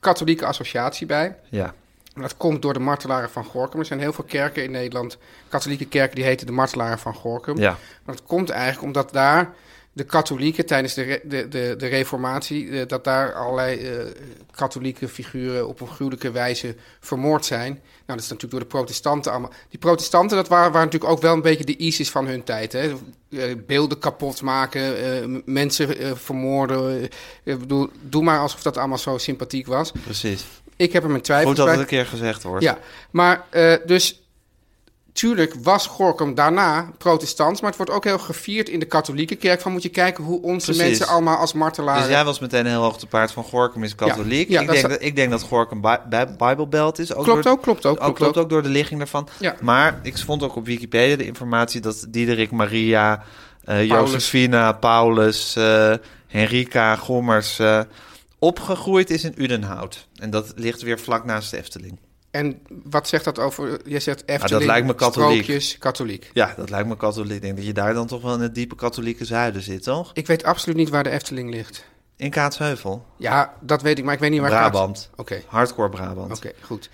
[SPEAKER 2] katholieke associatie bij.
[SPEAKER 1] Ja.
[SPEAKER 2] En Dat komt door de martelaren van Gorkum. Er zijn heel veel kerken in Nederland, katholieke kerken, die heten de martelaren van Gorkum.
[SPEAKER 1] Ja.
[SPEAKER 2] Maar dat komt eigenlijk omdat daar de katholieken tijdens de, re- de, de, de reformatie, eh, dat daar allerlei eh, katholieke figuren op een gruwelijke wijze vermoord zijn. Nou, dat is natuurlijk door de protestanten allemaal. Die protestanten, dat waren, waren natuurlijk ook wel een beetje de ISIS van hun tijd. Hè? Eh, Beelden kapot maken, eh, m- mensen eh, vermoorden. Eh, ik bedoel, doe maar alsof dat allemaal zo sympathiek was.
[SPEAKER 1] Precies.
[SPEAKER 2] Ik heb er mijn twijfels
[SPEAKER 1] Goed dat
[SPEAKER 2] bij.
[SPEAKER 1] het een keer gezegd wordt.
[SPEAKER 2] Ja, maar eh, dus tuurlijk was Gorkum daarna protestant, maar het wordt ook heel gevierd in de katholieke kerk. Van moet je kijken hoe onze
[SPEAKER 1] Precies.
[SPEAKER 2] mensen allemaal als martelaren.
[SPEAKER 1] Dus jij was meteen heel hoog te paard van Gorkum is katholiek.
[SPEAKER 2] Ja,
[SPEAKER 1] ik,
[SPEAKER 2] dat
[SPEAKER 1] denk
[SPEAKER 2] zou-
[SPEAKER 1] dat, ik denk dat Gorkum bij, bij Bijbelbelt is. Ook
[SPEAKER 2] Klopt
[SPEAKER 1] door-
[SPEAKER 2] ook, klopt ook, klopt
[SPEAKER 1] klopt
[SPEAKER 2] ook.
[SPEAKER 1] ook door de ligging daarvan.
[SPEAKER 2] Ja.
[SPEAKER 1] Maar ik vond ook op Wikipedia de informatie dat Diederik, Maria, eh
[SPEAKER 2] Paulus.
[SPEAKER 1] Josephina, Paulus, eh Henrika, Gommers eh, opgegroeid is in Udenhout. En dat ligt weer vlak naast de Efteling.
[SPEAKER 2] En wat zegt dat over? Je zegt Efteling,
[SPEAKER 1] lijkt me katholiek.
[SPEAKER 2] sprookjes, katholiek.
[SPEAKER 1] Ja, dat lijkt me katholiek. Ik denk dat je daar dan toch wel in het diepe katholieke zuiden zit, toch?
[SPEAKER 2] Ik weet absoluut niet waar de Efteling ligt.
[SPEAKER 1] In Kaatsheuvel.
[SPEAKER 2] Ja, dat weet ik, maar ik weet niet waar.
[SPEAKER 1] Brabant.
[SPEAKER 2] Kaat- Oké,
[SPEAKER 1] Hardcore Brabant.
[SPEAKER 2] oké, goed.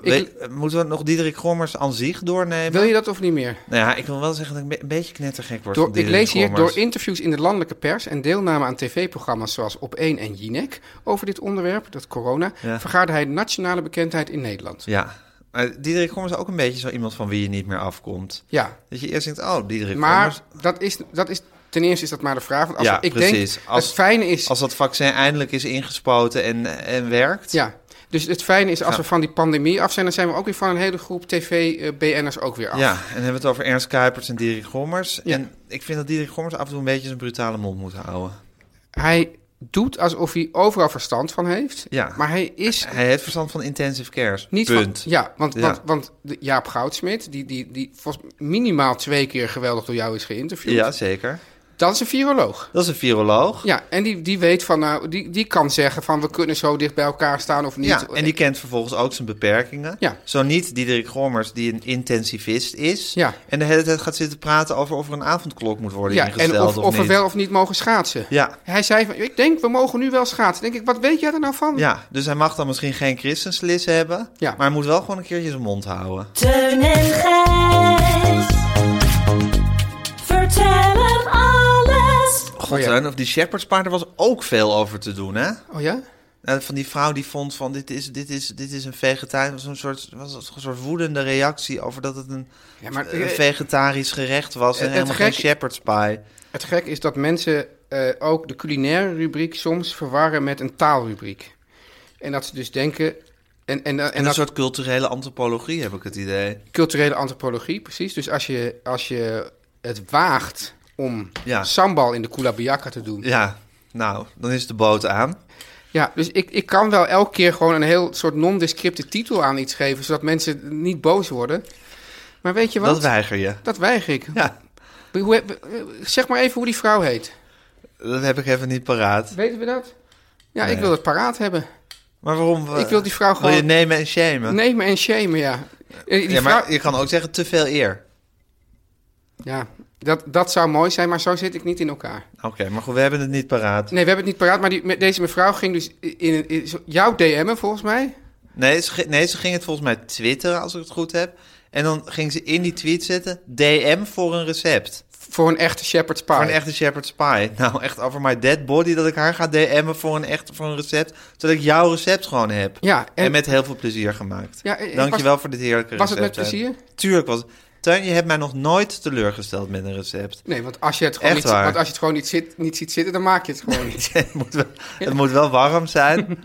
[SPEAKER 2] Ik,
[SPEAKER 1] We- moeten we nog Diederik Gommers aan zich doornemen?
[SPEAKER 2] wil je dat of niet meer?
[SPEAKER 1] Nou ja, ik wil wel zeggen dat ik be- een beetje knettergek word
[SPEAKER 2] Door,
[SPEAKER 1] van
[SPEAKER 2] ik
[SPEAKER 1] Diederik
[SPEAKER 2] lees hier
[SPEAKER 1] Gommers.
[SPEAKER 2] door interviews in de landelijke pers en deelname aan tv-programma's zoals Op1 en Jinek over dit onderwerp, dat corona,
[SPEAKER 1] Ja.
[SPEAKER 2] vergaarde hij nationale bekendheid in Nederland.
[SPEAKER 1] Ja, maar Diederik Gommers is ook een beetje zo iemand van wie je niet meer afkomt.
[SPEAKER 2] Ja,
[SPEAKER 1] Dat je eerst denkt, oh, Diederik
[SPEAKER 2] maar
[SPEAKER 1] Gommers.
[SPEAKER 2] dat is, dat is, ten eerste is dat maar de vraag. Want als
[SPEAKER 1] Ja,
[SPEAKER 2] we- ik
[SPEAKER 1] precies.
[SPEAKER 2] denk,
[SPEAKER 1] Als-
[SPEAKER 2] het fijne is...
[SPEAKER 1] Als dat vaccin eindelijk is ingespoten en, en werkt.
[SPEAKER 2] ja, dus het fijne is als
[SPEAKER 1] Ja.
[SPEAKER 2] we van die pandemie af zijn... dan zijn we ook weer van een hele groep tv-BN'ers ook weer af.
[SPEAKER 1] Ja, en dan hebben we het over Ernst Kuipers en Diederik Gommers.
[SPEAKER 2] Ja.
[SPEAKER 1] En ik vind dat Diederik Gommers af en toe een beetje zijn brutale mond moet houden.
[SPEAKER 2] Hij doet alsof hij overal verstand van heeft.
[SPEAKER 1] Ja.
[SPEAKER 2] Maar hij is
[SPEAKER 1] Hij heeft verstand van intensive cares.
[SPEAKER 2] niet
[SPEAKER 1] Punt.
[SPEAKER 2] van... Ja, want,
[SPEAKER 1] Ja.
[SPEAKER 2] want, want de- Jaap Goudsmit, die, die, die volgens minimaal twee keer geweldig door jou is geïnterviewd...
[SPEAKER 1] Ja, zeker.
[SPEAKER 2] dat is een viroloog.
[SPEAKER 1] Dat is een viroloog.
[SPEAKER 2] Ja, en die, die weet van, nou, die, die kan zeggen van we kunnen zo dicht bij elkaar staan of niet.
[SPEAKER 1] Ja, en die kent vervolgens ook zijn beperkingen.
[SPEAKER 2] Ja.
[SPEAKER 1] Zo niet Diederik Gommers, die een intensivist is.
[SPEAKER 2] Ja.
[SPEAKER 1] En de hele tijd gaat zitten praten over of er een avondklok moet worden
[SPEAKER 2] ja,
[SPEAKER 1] ingesteld
[SPEAKER 2] en of,
[SPEAKER 1] of,
[SPEAKER 2] of we
[SPEAKER 1] niet.
[SPEAKER 2] wel of niet mogen schaatsen.
[SPEAKER 1] Ja.
[SPEAKER 2] Hij zei van, ik denk we mogen nu wel schaatsen. Denk ik, wat weet jij er nou van?
[SPEAKER 1] Ja, dus hij mag dan misschien geen christenslis hebben.
[SPEAKER 2] Ja.
[SPEAKER 1] Maar hij moet wel gewoon een keertje zijn mond houden.
[SPEAKER 5] Teun en Gijs. Vertel hem alles.
[SPEAKER 1] God,
[SPEAKER 2] Oh ja.
[SPEAKER 1] Teun, of die shepherdspaarden was ook veel over te doen, hè?
[SPEAKER 2] Oh ja?
[SPEAKER 1] Nou, Van die vrouw die vond van dit is, dit is, dit is een vegetarisch, was een soort, was een soort woedende reactie over dat het een,
[SPEAKER 2] Ja, maar-
[SPEAKER 1] Eh,
[SPEAKER 2] eh,
[SPEAKER 1] een vegetarisch gerecht was en
[SPEAKER 2] Het- het
[SPEAKER 1] helemaal geen
[SPEAKER 2] gek-
[SPEAKER 1] shepherd's pie.
[SPEAKER 2] Het gek is dat mensen eh, ook de culinaire rubriek soms verwarren met een taalrubriek. En dat ze dus denken... En, en, en,
[SPEAKER 1] En, een
[SPEAKER 2] dat
[SPEAKER 1] soort culturele antropologie heb ik het idee.
[SPEAKER 2] culturele antropologie, precies. Dus als je, als je het waagt om
[SPEAKER 1] Ja.
[SPEAKER 2] sambal in de koelabiaka te doen...
[SPEAKER 1] Ja, nou, dan is de boot aan.
[SPEAKER 2] Ja, dus ik, ik kan wel elke keer gewoon een heel soort non-descripte titel aan iets geven, zodat mensen niet boos worden. Maar weet je wat?
[SPEAKER 1] Dat weiger je.
[SPEAKER 2] Dat weiger ik.
[SPEAKER 1] Ja,
[SPEAKER 2] Hoe heb- zeg maar even hoe die vrouw heet.
[SPEAKER 1] dat heb ik even niet paraat.
[SPEAKER 2] Weten we dat? Ja, ik wil het paraat hebben.
[SPEAKER 1] Maar waarom? we-
[SPEAKER 2] Ik wil die vrouw
[SPEAKER 1] Wil je
[SPEAKER 2] gewoon-
[SPEAKER 1] nemen en shamen?
[SPEAKER 2] Neem me en shame, ja. Eh, Die
[SPEAKER 1] ja, maar
[SPEAKER 2] vrouw-
[SPEAKER 1] je kan ook zeggen te veel eer.
[SPEAKER 2] ja dat, dat zou mooi zijn, maar zo zit ik niet in elkaar.
[SPEAKER 1] Oké, maar goed, we hebben het niet paraat.
[SPEAKER 2] Nee, we hebben het niet paraat, maar die, me- deze mevrouw ging dus in, een- in zo- jouw DM'en volgens mij.
[SPEAKER 1] Nee ze, ging- nee, ze ging het volgens mij twitteren, als ik het goed heb. En dan ging ze in die tweet zetten, DM voor een recept.
[SPEAKER 2] Voor een echte shepherd's pie.
[SPEAKER 1] Voor een echte shepherd's pie. Nou, echt over my dead body dat ik haar ga DM'en voor een, echt, voor een recept. Zodat ik jouw recept gewoon heb.
[SPEAKER 2] Ja,
[SPEAKER 1] en,
[SPEAKER 2] en-
[SPEAKER 1] met heel veel plezier gemaakt.
[SPEAKER 2] Ja, en- en
[SPEAKER 1] Dankjewel
[SPEAKER 2] was-
[SPEAKER 1] voor dit heerlijke
[SPEAKER 2] was
[SPEAKER 1] recept.
[SPEAKER 2] het met
[SPEAKER 1] Teun.
[SPEAKER 2] plezier?
[SPEAKER 1] Tuurlijk was het. Tuin, je hebt mij nog nooit teleurgesteld met een recept.
[SPEAKER 2] Nee, want als je het gewoon,
[SPEAKER 1] Echt
[SPEAKER 2] niet,
[SPEAKER 1] waar.
[SPEAKER 2] want als je het gewoon niet, zit, niet ziet zitten, dan maak je het gewoon niet.
[SPEAKER 1] het, moet wel, het moet wel warm zijn.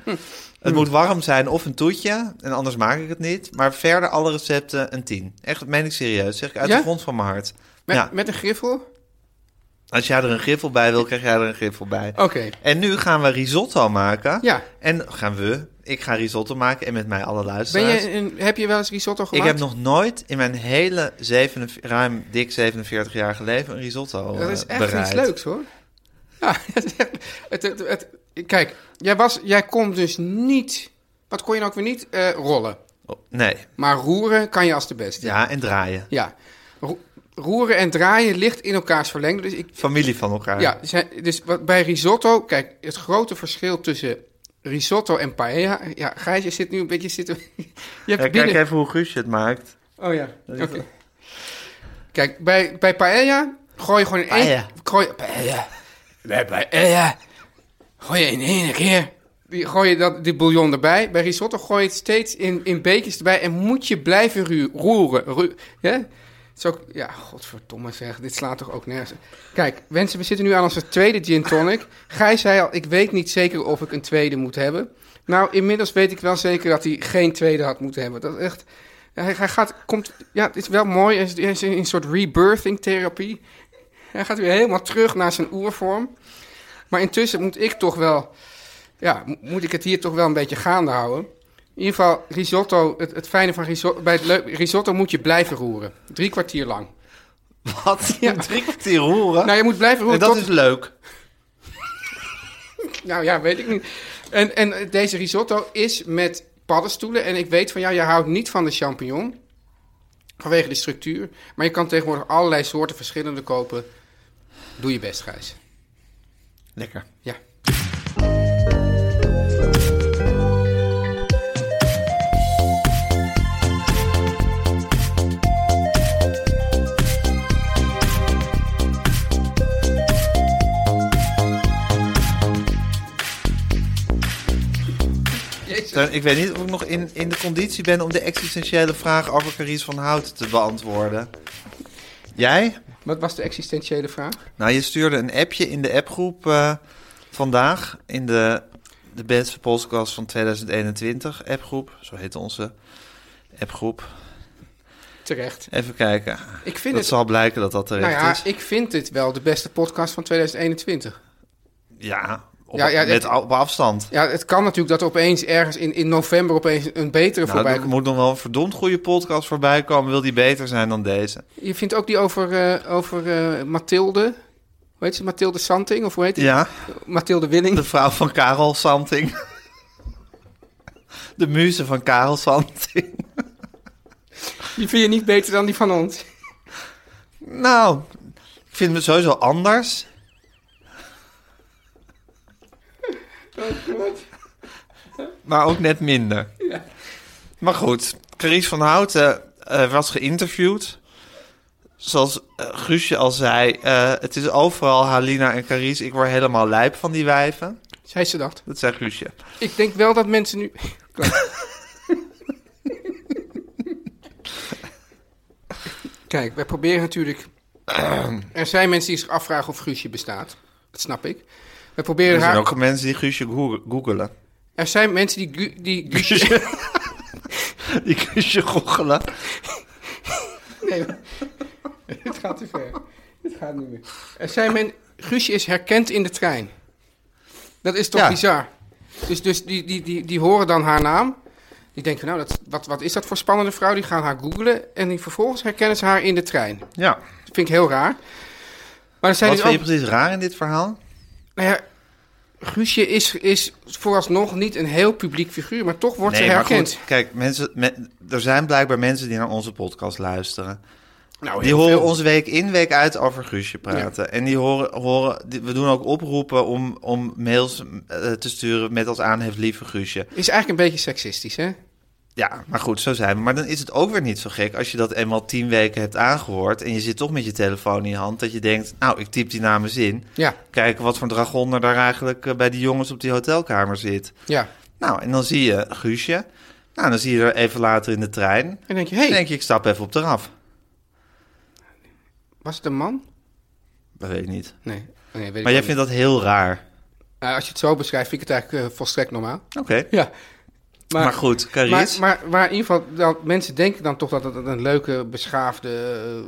[SPEAKER 1] Het moet warm zijn of een toetje. En anders maak ik het niet. Maar verder alle recepten een 10. Echt, dat meen ik serieus. Zeg ik uit
[SPEAKER 2] Ja?
[SPEAKER 1] de grond van mijn hart.
[SPEAKER 2] Met,
[SPEAKER 1] ja,
[SPEAKER 2] met een griffel?
[SPEAKER 1] als jij er een griffel bij wil, krijg jij er een griffel bij.
[SPEAKER 2] Oké.
[SPEAKER 1] En nu gaan we risotto maken.
[SPEAKER 2] Ja.
[SPEAKER 1] En gaan we. Ik ga risotto maken en met mij alle
[SPEAKER 2] Ben
[SPEAKER 1] luisteraars.
[SPEAKER 2] je een, heb je wel eens risotto
[SPEAKER 1] ik
[SPEAKER 2] gemaakt?
[SPEAKER 1] heb nog nooit in mijn hele 7, ruim dik 47 jaar leven een risotto
[SPEAKER 2] Dat is
[SPEAKER 1] eh,
[SPEAKER 2] echt
[SPEAKER 1] bereid.
[SPEAKER 2] iets leuks hoor. Ja, het, is echt- het, het, het- kijk, jij, was, jij kon dus niet. Wat kon je nou ook weer niet? Eh, rollen.
[SPEAKER 1] Oh, nee.
[SPEAKER 2] Maar roeren kan je als de beste.
[SPEAKER 1] Ja, en draaien.
[SPEAKER 2] Ja. Ro- roeren en draaien ligt in elkaars verlengde. Dus ik,
[SPEAKER 1] Familie van elkaar.
[SPEAKER 2] Ja, zijn- dus wat, bij risotto, kijk, het grote verschil tussen risotto en paella. Ja, Gijs, je zit nu een beetje zitten. Je
[SPEAKER 1] Ja,
[SPEAKER 2] hebt
[SPEAKER 1] kijk
[SPEAKER 2] binnen.
[SPEAKER 1] even hoe Guusje het maakt.
[SPEAKER 2] Oh ja, oké. Kijk, bij, bij paella gooi je gewoon in één...
[SPEAKER 1] Paella.
[SPEAKER 2] Gooi, paella. Bij paella gooi je in één keer... Die, gooi je dat, die bouillon erbij. Bij risotto gooi je het steeds in, in beekjes erbij. En moet je blijven ru- roeren. Ru- ja? Het is ook, ja, godverdomme zeg. Dit slaat toch ook nergens. op. Kijk, mensen, we zitten nu aan onze tweede gin tonic. Gij zei al, ik weet niet zeker of ik een tweede moet hebben. Nou, inmiddels weet ik wel zeker dat hij geen tweede had moeten hebben. Dat is echt... Hij, hij gaat, komt, ja, het is wel mooi. Hij is- Hij is in een soort rebirthing therapie. Hij gaat weer helemaal terug naar zijn oervorm. Maar intussen moet ik toch wel, ja, mo- moet ik het hier toch wel een beetje gaande houden. In ieder geval, risotto, het, het fijne van risotto, bij het leu- risotto moet je blijven roeren. Drie kwartier lang.
[SPEAKER 1] Wat? Ja. Drie kwartier roeren?
[SPEAKER 2] Nou, je moet blijven roeren
[SPEAKER 1] en dat
[SPEAKER 2] tot-
[SPEAKER 1] is leuk.
[SPEAKER 2] Nou ja, weet ik niet. En, en deze risotto is met paddenstoelen. En ik weet van jou, je houdt niet van de champignon. Vanwege de structuur. Maar je kan tegenwoordig allerlei soorten verschillende kopen. Doe je best, Gijs.
[SPEAKER 1] Lekker.
[SPEAKER 2] Ja.
[SPEAKER 1] Teun, ik weet niet of ik nog in, in de conditie ben om de existentiële vraag over Carice van Hout te beantwoorden. Jij?
[SPEAKER 2] Wat was de existentiële vraag?
[SPEAKER 1] Nou, je stuurde een appje in de appgroep eh, vandaag. In de, de beste podcast van 2021 appgroep. Zo heet onze appgroep.
[SPEAKER 2] Terecht.
[SPEAKER 1] Even kijken.
[SPEAKER 2] Ik vind
[SPEAKER 1] dat
[SPEAKER 2] het-
[SPEAKER 1] zal blijken dat dat terecht
[SPEAKER 2] Nou ja,
[SPEAKER 1] is.
[SPEAKER 2] ik vind dit wel de beste podcast van 2021.
[SPEAKER 1] Ja, Op,
[SPEAKER 2] Ja, ja,
[SPEAKER 1] met,
[SPEAKER 2] het-
[SPEAKER 1] op afstand.
[SPEAKER 2] Ja, het kan natuurlijk dat er opeens ergens in, in november opeens een betere
[SPEAKER 1] Nou,
[SPEAKER 2] voorbij
[SPEAKER 1] er
[SPEAKER 2] komt.
[SPEAKER 1] moet nog wel een verdomd goede podcast voorbij komen. Wil die beter zijn dan deze?
[SPEAKER 2] Je vindt ook die over, eh, over eh, Mathilde. Hoe heet ze? Mathilde Santing? Of hoe heet die?
[SPEAKER 1] Ja,
[SPEAKER 2] Mathilde Willing.
[SPEAKER 1] de vrouw van Karel Santing. De muze van Karel Santing.
[SPEAKER 2] Die vind je niet beter dan die van ons.
[SPEAKER 1] Nou, ik vind het sowieso anders. Maar ook net minder. Maar goed, Carice van Houten eh, was geïnterviewd. Zoals eh, Guusje al zei, eh, het is overal Halina en Carice. Ik word helemaal lijp van die wijven.
[SPEAKER 2] Zei ze dat?
[SPEAKER 1] Dat zei Guusje.
[SPEAKER 2] Ik denk wel dat mensen nu... Kijk, wij proberen natuurlijk... er zijn mensen die zich afvragen of Guusje bestaat. Dat snap ik. We proberen
[SPEAKER 1] Er zijn
[SPEAKER 2] haar...
[SPEAKER 1] ook mensen die Guusje goe- googelen.
[SPEAKER 2] Er zijn mensen die, Gu- die Guusje...
[SPEAKER 1] Die Guusje googelen.
[SPEAKER 2] Nee, maar- het gaat te ver. Het gaat niet meer. Er zijn men... Guusje is herkend in de trein. Dat is toch
[SPEAKER 1] Ja.
[SPEAKER 2] bizar? Dus, dus die, die, die, die horen dan haar naam. Die denken, nou, dat, wat, wat is dat voor spannende vrouw? Die gaan haar googlen en die, vervolgens herkennen ze haar in de trein.
[SPEAKER 1] Ja.
[SPEAKER 2] Dat vind ik heel raar. Maar er zijn
[SPEAKER 1] Wat
[SPEAKER 2] dus
[SPEAKER 1] vind je
[SPEAKER 2] ook...
[SPEAKER 1] precies raar in dit verhaal?
[SPEAKER 2] Nou ja, Guusje is, is vooralsnog niet een heel publiek figuur, maar toch wordt ze
[SPEAKER 1] maar
[SPEAKER 2] herkend.
[SPEAKER 1] goed, kijk, mensen, me- er zijn blijkbaar mensen die naar onze podcast luisteren.
[SPEAKER 2] Nou,
[SPEAKER 1] Die
[SPEAKER 2] heel
[SPEAKER 1] horen
[SPEAKER 2] veel.
[SPEAKER 1] ons week in, week uit over Guusje praten. En die horen, horen die- we doen ook oproepen om, om mails eh, te sturen met als aanhef lieve Guusje.
[SPEAKER 2] Is eigenlijk een beetje seksistisch, hè?
[SPEAKER 1] Ja, maar goed, zo zijn we. Maar dan is het ook weer niet zo gek als je dat eenmaal tien weken hebt aangehoord... en je zit toch met je telefoon in je hand, dat je denkt... nou, ik typ die namen eens in.
[SPEAKER 2] Ja,
[SPEAKER 1] Kijken wat voor dragonder daar eigenlijk eh, bij die jongens op die hotelkamer zit.
[SPEAKER 2] ja.
[SPEAKER 1] Nou, en dan zie je Guusje. Nou, dan zie je er even later in de trein. Dan
[SPEAKER 2] En denk je, hé, hey,
[SPEAKER 1] denk je, ik stap even op de raf.
[SPEAKER 2] was het een man?
[SPEAKER 1] Dat weet ik niet.
[SPEAKER 2] Nee, nee weet ik
[SPEAKER 1] Maar jij
[SPEAKER 2] ook
[SPEAKER 1] vindt dat heel raar.
[SPEAKER 2] niet. Nou, als je het zo beschrijft, vind ik het eigenlijk eh, volstrekt normaal.
[SPEAKER 1] Oké.
[SPEAKER 2] Ja.
[SPEAKER 1] Maar, goed,
[SPEAKER 2] maar, maar,
[SPEAKER 1] Carice.
[SPEAKER 2] maar in ieder geval, dat mensen denken dan toch dat het een leuke, beschaafde, eh, eh,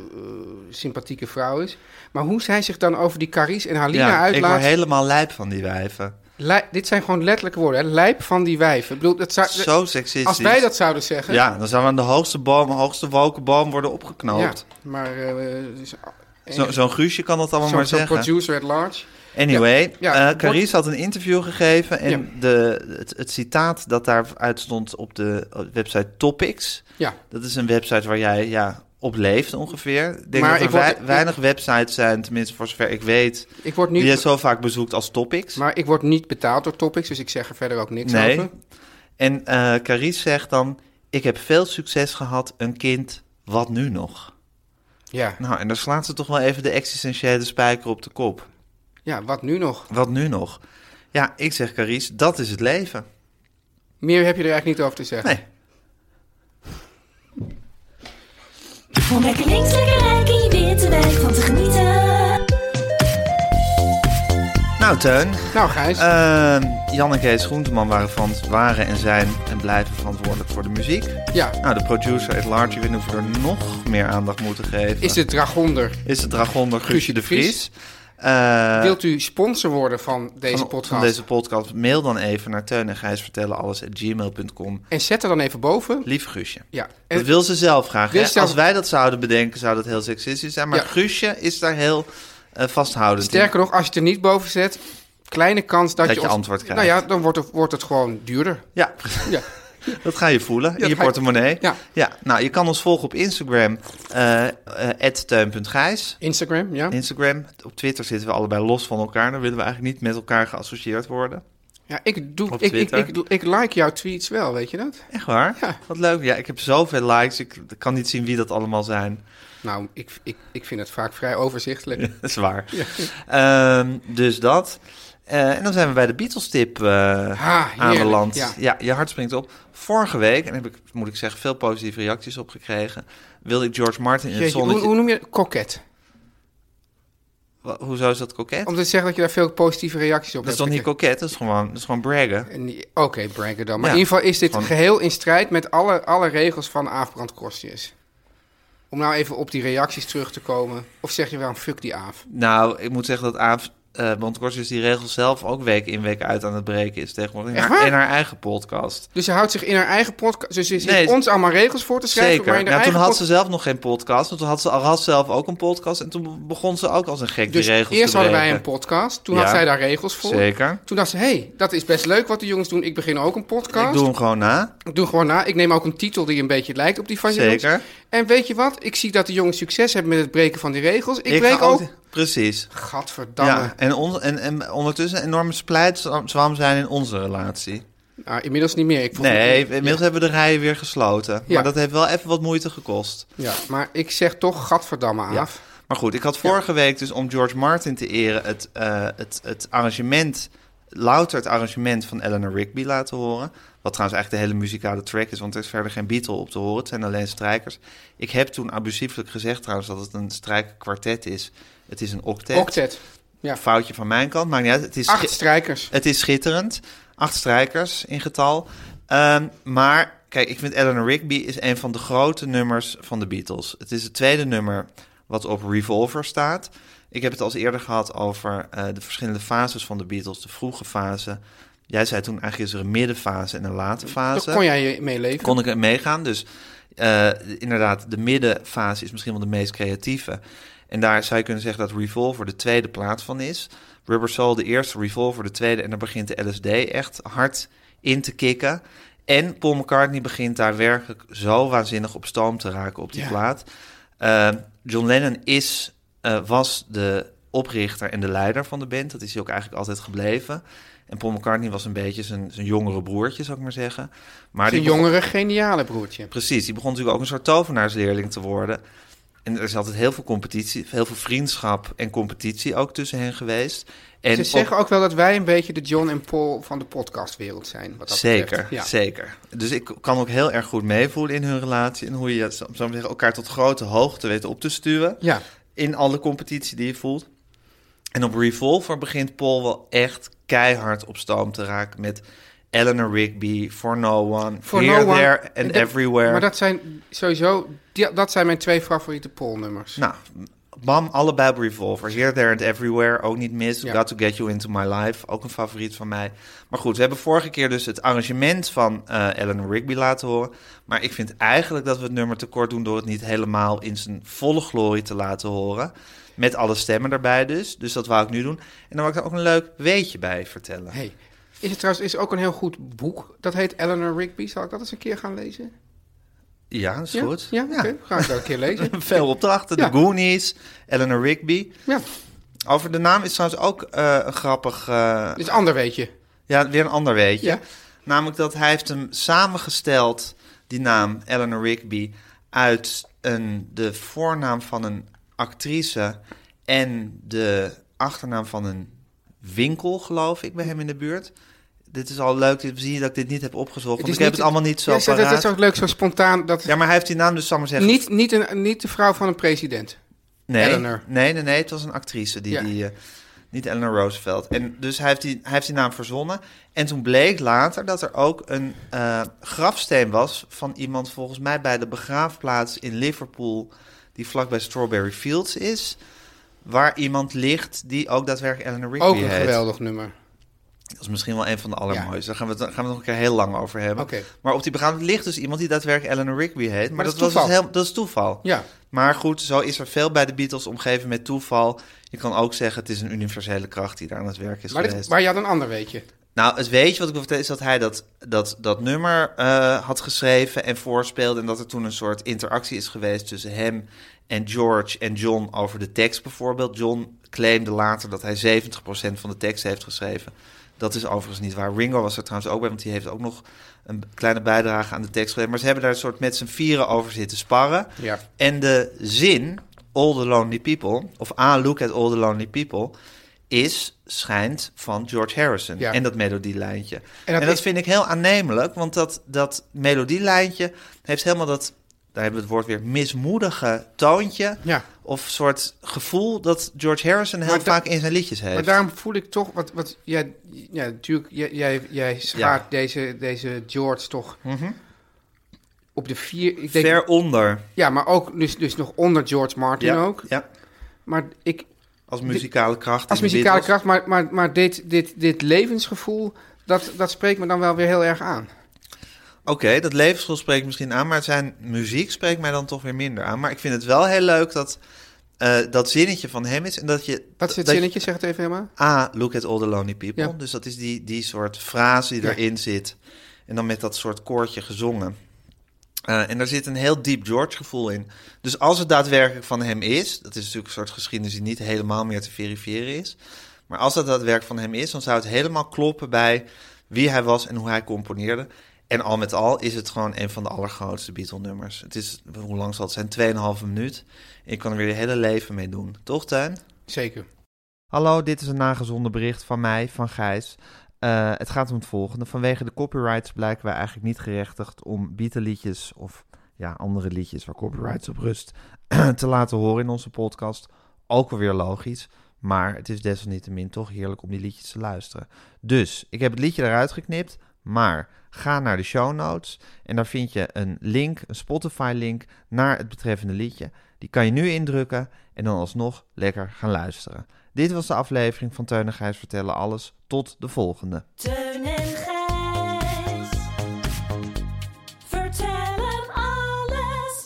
[SPEAKER 2] sympathieke vrouw is. Maar hoe zij zich dan over die Caries en Halina
[SPEAKER 1] ja, ik word
[SPEAKER 2] uitlaat...
[SPEAKER 1] helemaal lijp van die wijven.
[SPEAKER 2] Lij- dit zijn gewoon letterlijke woorden, hè? Lijp van die wijven. Ik bedoel, dat zou,
[SPEAKER 1] Zo seksistisch.
[SPEAKER 2] als wij dat zouden zeggen...
[SPEAKER 1] Ja, dan zou we aan de hoogste boom, hoogste wolkenboom worden
[SPEAKER 2] ja,
[SPEAKER 1] opgeknoopt.
[SPEAKER 2] maar... eh, dus-
[SPEAKER 1] Zo- Zo'n Guusje kan dat allemaal
[SPEAKER 2] zo'n-
[SPEAKER 1] maar
[SPEAKER 2] zo'n
[SPEAKER 1] zeggen.
[SPEAKER 2] producer at large.
[SPEAKER 1] Anyway, eh
[SPEAKER 2] Ja, ja, wordt-
[SPEAKER 1] Carice had een interview gegeven en
[SPEAKER 2] Ja.
[SPEAKER 1] de, het, het citaat dat daaruit stond op de website Topics,
[SPEAKER 2] Ja,
[SPEAKER 1] dat is een website waar jij ja, op leeft ongeveer. Ik denk dat
[SPEAKER 2] Maar
[SPEAKER 1] er
[SPEAKER 2] ik word-
[SPEAKER 1] wei- weinig websites zijn, tenminste voor zover ik weet,
[SPEAKER 2] ik word
[SPEAKER 1] die je
[SPEAKER 2] niet...
[SPEAKER 1] zo vaak bezoekt als Topics.
[SPEAKER 2] Maar ik word niet betaald door Topics, dus ik zeg er verder ook niks
[SPEAKER 1] Nee.
[SPEAKER 2] over.
[SPEAKER 1] En eh Carice zegt dan, ik heb veel succes gehad, een kind, wat nu nog?
[SPEAKER 2] Ja.
[SPEAKER 1] Nou, en daar slaat ze toch wel even de existentiële spijker op de kop.
[SPEAKER 2] ja, wat nu nog?
[SPEAKER 1] Wat nu nog? Ja, ik zeg Carice, dat is het leven.
[SPEAKER 2] Meer heb je er eigenlijk niet over te zeggen.
[SPEAKER 1] Nee.
[SPEAKER 5] Om lekker links, lekker rijk in je witte wijk van te genieten.
[SPEAKER 1] Nou, Teun,
[SPEAKER 2] Nou, Gijs.
[SPEAKER 1] eh, Jan en Kees Groenteman waren, van, waren en zijn en blijven verantwoordelijk voor de muziek.
[SPEAKER 2] ja.
[SPEAKER 1] Nou, de producer at large, ik weet niet of we er nog meer aandacht moeten geven.
[SPEAKER 2] Is het dragonder?
[SPEAKER 1] Is het dragonder Guusje
[SPEAKER 2] Guusje
[SPEAKER 1] de
[SPEAKER 2] de
[SPEAKER 1] Vries? Eh,
[SPEAKER 2] Wilt u sponsor worden van deze
[SPEAKER 1] van,
[SPEAKER 2] podcast?
[SPEAKER 1] van deze podcast, mail dan even naar Teun en Gijs vertellen alles at gmail.com.
[SPEAKER 2] En zet er dan even boven.
[SPEAKER 1] Lief Guusje.
[SPEAKER 2] Ja. En
[SPEAKER 1] Dat wil ze zelf graag.
[SPEAKER 2] Wil
[SPEAKER 1] Hè?
[SPEAKER 2] ze zelf-
[SPEAKER 1] Als wij dat zouden bedenken, zou dat heel seksistisch zijn. Maar
[SPEAKER 2] Ja.
[SPEAKER 1] Guusje is daar heel eh, vasthoudend in.
[SPEAKER 2] sterker nog, als je het er niet boven zet, kleine kans dat,
[SPEAKER 1] Dat je
[SPEAKER 2] ons-
[SPEAKER 1] antwoord krijgt.
[SPEAKER 2] Nou ja, dan wordt het, wordt het gewoon duurder.
[SPEAKER 1] Ja,
[SPEAKER 2] Ja.
[SPEAKER 1] dat ga je voelen in
[SPEAKER 2] dat
[SPEAKER 1] je
[SPEAKER 2] ga je-
[SPEAKER 1] portemonnee.
[SPEAKER 2] Ja.
[SPEAKER 1] nou, je kan ons volgen op Instagram, eh, eh, @teun.gijs.
[SPEAKER 2] Instagram, ja.
[SPEAKER 1] Instagram. Op Twitter zitten we allebei los van elkaar. Dan willen we eigenlijk niet met elkaar geassocieerd worden.
[SPEAKER 2] ja ik, doe,
[SPEAKER 1] Op
[SPEAKER 2] ik, ik,
[SPEAKER 1] Twitter.
[SPEAKER 2] ik, doe, ik like jouw tweets wel, weet je dat?
[SPEAKER 1] Echt waar?
[SPEAKER 2] Ja.
[SPEAKER 1] Wat leuk. Ja, ik heb zoveel likes. Ik kan niet zien wie dat allemaal zijn.
[SPEAKER 2] Nou, ik, ik, ik vind het vaak vrij overzichtelijk.
[SPEAKER 1] Dat is waar. Ehm, dus dat. Eh, en dan zijn we bij de Beatles-tip eh
[SPEAKER 2] Ha, Ah, heerlijk,
[SPEAKER 1] aanbeland. Ja.
[SPEAKER 2] ja.
[SPEAKER 1] je hart springt op. Vorige week, en daar heb ik, moet ik zeggen, veel positieve reacties op gekregen... wilde ik George Martin in het
[SPEAKER 2] Jeetje, hoe,
[SPEAKER 1] zonnetje...
[SPEAKER 2] hoe noem je het? Koket.
[SPEAKER 1] Wa- Hoezo is dat koket?
[SPEAKER 2] Om te zeggen dat je daar veel positieve reacties op
[SPEAKER 1] Dat is toch
[SPEAKER 2] hebt.
[SPEAKER 1] niet koket? Dat is gewoon, dat is gewoon braggen.
[SPEAKER 2] En die- Oké, bragger dan. Maar
[SPEAKER 1] Ja,
[SPEAKER 2] in ieder geval is dit
[SPEAKER 1] gewoon-
[SPEAKER 2] geheel in strijd met alle, alle regels van Aafbrand Kostjes. Om nou even op die reacties terug te komen. Of zeg je wel, fuck die Aaf.
[SPEAKER 1] Nou, ik moet zeggen dat Aaf eh Bontekorst is die regel zelf ook week in week uit aan het breken is tegenwoordig. In,
[SPEAKER 2] Echt
[SPEAKER 1] haar,
[SPEAKER 2] waar?
[SPEAKER 1] in haar eigen podcast.
[SPEAKER 2] Dus ze houdt zich in haar eigen podcast. Dus ze zit
[SPEAKER 1] Nee,
[SPEAKER 2] ons allemaal regels voor te schrijven. Maar
[SPEAKER 1] Zeker.
[SPEAKER 2] in
[SPEAKER 1] Nou,
[SPEAKER 2] haar
[SPEAKER 1] toen
[SPEAKER 2] eigen
[SPEAKER 1] had
[SPEAKER 2] pod-
[SPEAKER 1] ze zelf nog geen podcast. want Toen had ze al had zelf ook een podcast. En toen begon ze ook als een gek
[SPEAKER 2] Dus
[SPEAKER 1] die regels
[SPEAKER 2] eerst
[SPEAKER 1] te
[SPEAKER 2] hadden wij
[SPEAKER 1] breken.
[SPEAKER 2] een podcast. Toen
[SPEAKER 1] Ja.
[SPEAKER 2] had zij daar regels voor.
[SPEAKER 1] Zeker.
[SPEAKER 2] Toen dacht ze, hé, hey, dat is best leuk wat de jongens doen. Ik begin ook een podcast.
[SPEAKER 1] Ik doe hem gewoon na.
[SPEAKER 2] Ik doe gewoon na. Ik neem ook een titel die een beetje lijkt op die van je
[SPEAKER 1] Zeker.
[SPEAKER 2] En weet je wat? Ik zie dat de jongens succes hebben met het breken van die regels. Ik,
[SPEAKER 1] ga
[SPEAKER 2] breek ook...
[SPEAKER 1] Precies.
[SPEAKER 2] Gadverdamme.
[SPEAKER 1] Ja, en, on, en, en ondertussen enorme splijtzwam zijn in onze relatie.
[SPEAKER 2] Nou, inmiddels niet meer. Ik voel
[SPEAKER 1] Nee,
[SPEAKER 2] me-
[SPEAKER 1] inmiddels hebben we de rijen weer gesloten.
[SPEAKER 2] Ja.
[SPEAKER 1] Maar dat heeft wel even wat moeite gekost.
[SPEAKER 2] Ja, maar ik zeg toch gadverdamme af.
[SPEAKER 1] Ja. Maar goed, ik had vorige week dus om George Martin te eren het, eh, het, het arrangement, louter het arrangement van Eleanor Rigby laten horen. Wat trouwens eigenlijk de hele muzikale track is, want er is verder geen Beatle op te horen. Het zijn alleen strijkers. Ik heb toen abusieflijk gezegd trouwens dat het een strijkkwartet is. Het is een octet.
[SPEAKER 2] Octet. Ja.
[SPEAKER 1] Foutje van mijn kant, maar niet uit. Het is
[SPEAKER 2] Acht
[SPEAKER 1] ge-
[SPEAKER 2] strijkers.
[SPEAKER 1] het is schitterend. Acht strijkers in getal. Ehm, maar kijk, ik vind Eleanor Rigby is een van de grote nummers van de Beatles. Het is het tweede nummer wat op Revolver staat. Ik heb het al eens eerder gehad over eh, de verschillende fases van de Beatles. De vroege fase. Jij zei toen eigenlijk is er een middenfase en een late fase.
[SPEAKER 2] Daar kon jij je mee leven.
[SPEAKER 1] Kon ik er meegaan. Dus eh, inderdaad, de middenfase is misschien wel de meest creatieve. En daar zou je kunnen zeggen dat Revolver de tweede plaats van is. Rubber Soul de eerste, Revolver de tweede. En dan begint de LSD echt hard in te kicken. En Paul McCartney begint daar werkelijk zo waanzinnig op stoom te raken op die
[SPEAKER 2] Ja.
[SPEAKER 1] plaat. Eh, John Lennon is, eh, was de oprichter en de leider van de band. Dat is hij ook eigenlijk altijd gebleven. En Paul McCartney was een beetje zijn, zijn jongere broertje, zou ik maar zeggen. Maar
[SPEAKER 2] Een
[SPEAKER 1] die begon-
[SPEAKER 2] jongere, geniale broertje.
[SPEAKER 1] Precies, die begon natuurlijk ook een soort tovenaarsleerling te worden. En er is altijd heel veel competitie, heel veel vriendschap en competitie ook tussen hen geweest. En
[SPEAKER 2] Ze
[SPEAKER 1] op-
[SPEAKER 2] zeggen ook wel dat wij een beetje de John en Paul van de podcastwereld zijn. Wat dat
[SPEAKER 1] Zeker,
[SPEAKER 2] betreft. Ja.
[SPEAKER 1] zeker. Dus ik kan ook heel erg goed meevoelen in hun relatie en hoe je zou ik maar zeggen, elkaar tot grote hoogte weet op te stuwen
[SPEAKER 2] Ja.
[SPEAKER 1] in alle competitie die je voelt. En op Revolver begint Paul wel echt keihard op stoom te raken met Eleanor Rigby, For No One,
[SPEAKER 2] For
[SPEAKER 1] Here,
[SPEAKER 2] no one-
[SPEAKER 1] There and
[SPEAKER 2] dat-
[SPEAKER 1] Everywhere.
[SPEAKER 2] Maar dat zijn sowieso, die- dat zijn mijn twee favoriete Paul-nummers.
[SPEAKER 1] Nou, bam, allebei op Revolver. Here, There and Everywhere, ook niet mis.
[SPEAKER 2] Ja.
[SPEAKER 1] Got to Get You Into My Life, ook een favoriet van mij. Maar goed, we hebben vorige keer dus het arrangement van eh Eleanor Rigby laten horen. Maar ik vind eigenlijk dat we het nummer tekort doen... door het niet helemaal in zijn volle glorie te laten horen. Met alle stemmen erbij dus. Dus dat wou ik nu doen. En dan wou ik daar ook een leuk weetje bij vertellen.
[SPEAKER 2] Hey, is er trouwens is ook een heel goed boek. Dat heet Eleanor Rigby. Zal ik dat eens een keer gaan lezen?
[SPEAKER 1] Ja, dat is
[SPEAKER 2] Ja?
[SPEAKER 1] goed.
[SPEAKER 2] Ja, oké. Ga ik dat een keer lezen.
[SPEAKER 1] Veel opdrachten.
[SPEAKER 2] Ja.
[SPEAKER 1] De Goonies, Eleanor Rigby.
[SPEAKER 2] Ja,
[SPEAKER 1] Over de naam is trouwens ook eh, een grappig... eh,
[SPEAKER 2] dit is ander weet je.
[SPEAKER 1] Ja, weer een ander weetje.
[SPEAKER 2] Ja.
[SPEAKER 1] Namelijk dat hij heeft hem samengesteld, die naam Eleanor Rigby, uit een, de voornaam van een actrice en de achternaam van een winkel, geloof ik, bij hem in de buurt. Dit is al leuk, dit- zie je dat ik dit niet heb opgezocht, want ik heb het allemaal niet zo
[SPEAKER 2] Ja, dat- dat
[SPEAKER 1] paraat.
[SPEAKER 2] is ook leuk, zo spontaan. Dat,
[SPEAKER 1] Ja, maar hij heeft die naam dus, zal ik maar zeggen...
[SPEAKER 2] niet, niet, een, niet de vrouw van een president.
[SPEAKER 1] Nee,
[SPEAKER 2] Eleanor.
[SPEAKER 1] Nee, nee, nee, het was een actrice die,
[SPEAKER 2] Ja.
[SPEAKER 1] die eh, niet Eleanor Roosevelt. En dus hij heeft, die, hij heeft die naam verzonnen. En toen bleek later dat er ook een eh, grafsteen was van iemand volgens mij bij de begraafplaats in Liverpool, die vlakbij Strawberry Fields is, waar iemand ligt die ook daadwerkelijk Eleanor Rigby
[SPEAKER 2] Ook een
[SPEAKER 1] heet.
[SPEAKER 2] geweldig nummer.
[SPEAKER 1] Dat is misschien wel een van de allermooiste. Daar gaan we, het, gaan we het nog een keer heel lang over hebben.
[SPEAKER 2] Oké.
[SPEAKER 1] Maar op die begraafplaats ligt dus iemand die daadwerkelijk Eleanor Rigby heet. Maar,
[SPEAKER 2] Maar dat
[SPEAKER 1] dat, was
[SPEAKER 2] is
[SPEAKER 1] dus
[SPEAKER 2] toeval.
[SPEAKER 1] heel, dat is toeval.
[SPEAKER 2] Ja.
[SPEAKER 1] Maar goed, zo is er veel bij de Beatles omgeven met toeval. Je kan ook zeggen, het is een universele kracht die daar aan het werk is
[SPEAKER 2] Maar, dit-
[SPEAKER 1] geweest.
[SPEAKER 2] maar je had een ander weet je.
[SPEAKER 1] Nou, het weetje wat ik wil vertellen is dat hij dat, dat, dat nummer eh, had geschreven en voorspeelde. En dat er toen een soort interactie is geweest tussen hem en George en John over de tekst bijvoorbeeld. John claimde later dat hij 70% van de tekst heeft geschreven. Dat is overigens niet waar. Ringo was er trouwens ook bij, want die heeft ook nog een kleine bijdrage aan de tekst geleverd. Maar ze hebben daar een soort met z'n vieren over zitten sparren.
[SPEAKER 2] Ja.
[SPEAKER 1] En de zin, all the lonely people, of A look at all the lonely people, is, schijnt, van George Harrison.
[SPEAKER 2] Ja.
[SPEAKER 1] En dat melodielijntje. En
[SPEAKER 2] dat
[SPEAKER 1] dat,
[SPEAKER 2] is-
[SPEAKER 1] vind ik heel aannemelijk, want dat, dat melodielijntje heeft helemaal dat, daar hebben we het woord weer, mismoedige toontje.
[SPEAKER 2] Ja.
[SPEAKER 1] Of soort gevoel dat George Harrison heel
[SPEAKER 2] Maar da-
[SPEAKER 1] vaak in zijn liedjes heeft.
[SPEAKER 2] Maar daarom voel ik toch wat. wat jij, ja, natuurlijk, jij, jij, jij schaart
[SPEAKER 1] Ja. Mhm.
[SPEAKER 2] deze, deze George toch op de vier. Ik denk,
[SPEAKER 1] Ver onder.
[SPEAKER 2] Ja, maar ook dus, dus nog onder George Martin
[SPEAKER 1] Ja,
[SPEAKER 2] ook.
[SPEAKER 1] ja.
[SPEAKER 2] Maar ik,
[SPEAKER 1] Als muzikale kracht.
[SPEAKER 2] Als
[SPEAKER 1] in de
[SPEAKER 2] muzikale
[SPEAKER 1] Beatles.
[SPEAKER 2] kracht, maar, maar, maar dit, dit, dit levensgevoel, dat, dat spreekt me dan wel weer heel erg aan.
[SPEAKER 1] Oké, dat levensgevoel spreekt misschien aan, maar zijn muziek spreekt mij dan toch weer minder aan. Maar ik vind het wel heel leuk dat eh, dat zinnetje van hem is en dat je...
[SPEAKER 2] Wat is het
[SPEAKER 1] dat je-
[SPEAKER 2] zinnetje? Zeg het even helemaal.
[SPEAKER 1] Ah, look at all the lonely people.
[SPEAKER 2] Ja.
[SPEAKER 1] Dus dat is die, die soort frase die
[SPEAKER 2] Ja.
[SPEAKER 1] erin zit. En dan met dat soort koortje gezongen. Eh, en daar zit een heel diep George gevoel in. Dus als het daadwerkelijk van hem is... dat is natuurlijk een soort geschiedenis die niet helemaal meer te verifiëren is. Maar als dat daadwerkelijk van hem is... dan zou het helemaal kloppen bij wie hij was en hoe hij componeerde. En al met al is het gewoon een van de allergrootste Beatle-nummers. Het is, hoe lang zal het zijn? 2,5 minuut. En je kan er weer je hele leven mee doen. Toch, Tuin?
[SPEAKER 2] Zeker.
[SPEAKER 1] Hallo, dit is een nagezonden bericht van mij, van Gijs. Eh, het gaat om het volgende. Vanwege de copyrights blijken wij eigenlijk niet gerechtigd om bietenliedjes of ja, andere liedjes waar copyrights op rust te laten horen in onze podcast. Ook alweer logisch, maar het is desalniettemin toch heerlijk om die liedjes te luisteren. Dus, ik heb het liedje eruit geknipt, maar ga naar de show notes en daar vind je een link, een Spotify link naar het betreffende liedje. Die kan je nu indrukken en dan alsnog lekker gaan luisteren. Dit was de aflevering van Teun en Gijs vertellen alles. Tot de volgende.
[SPEAKER 5] Teun en Gijs. Vertel hem alles.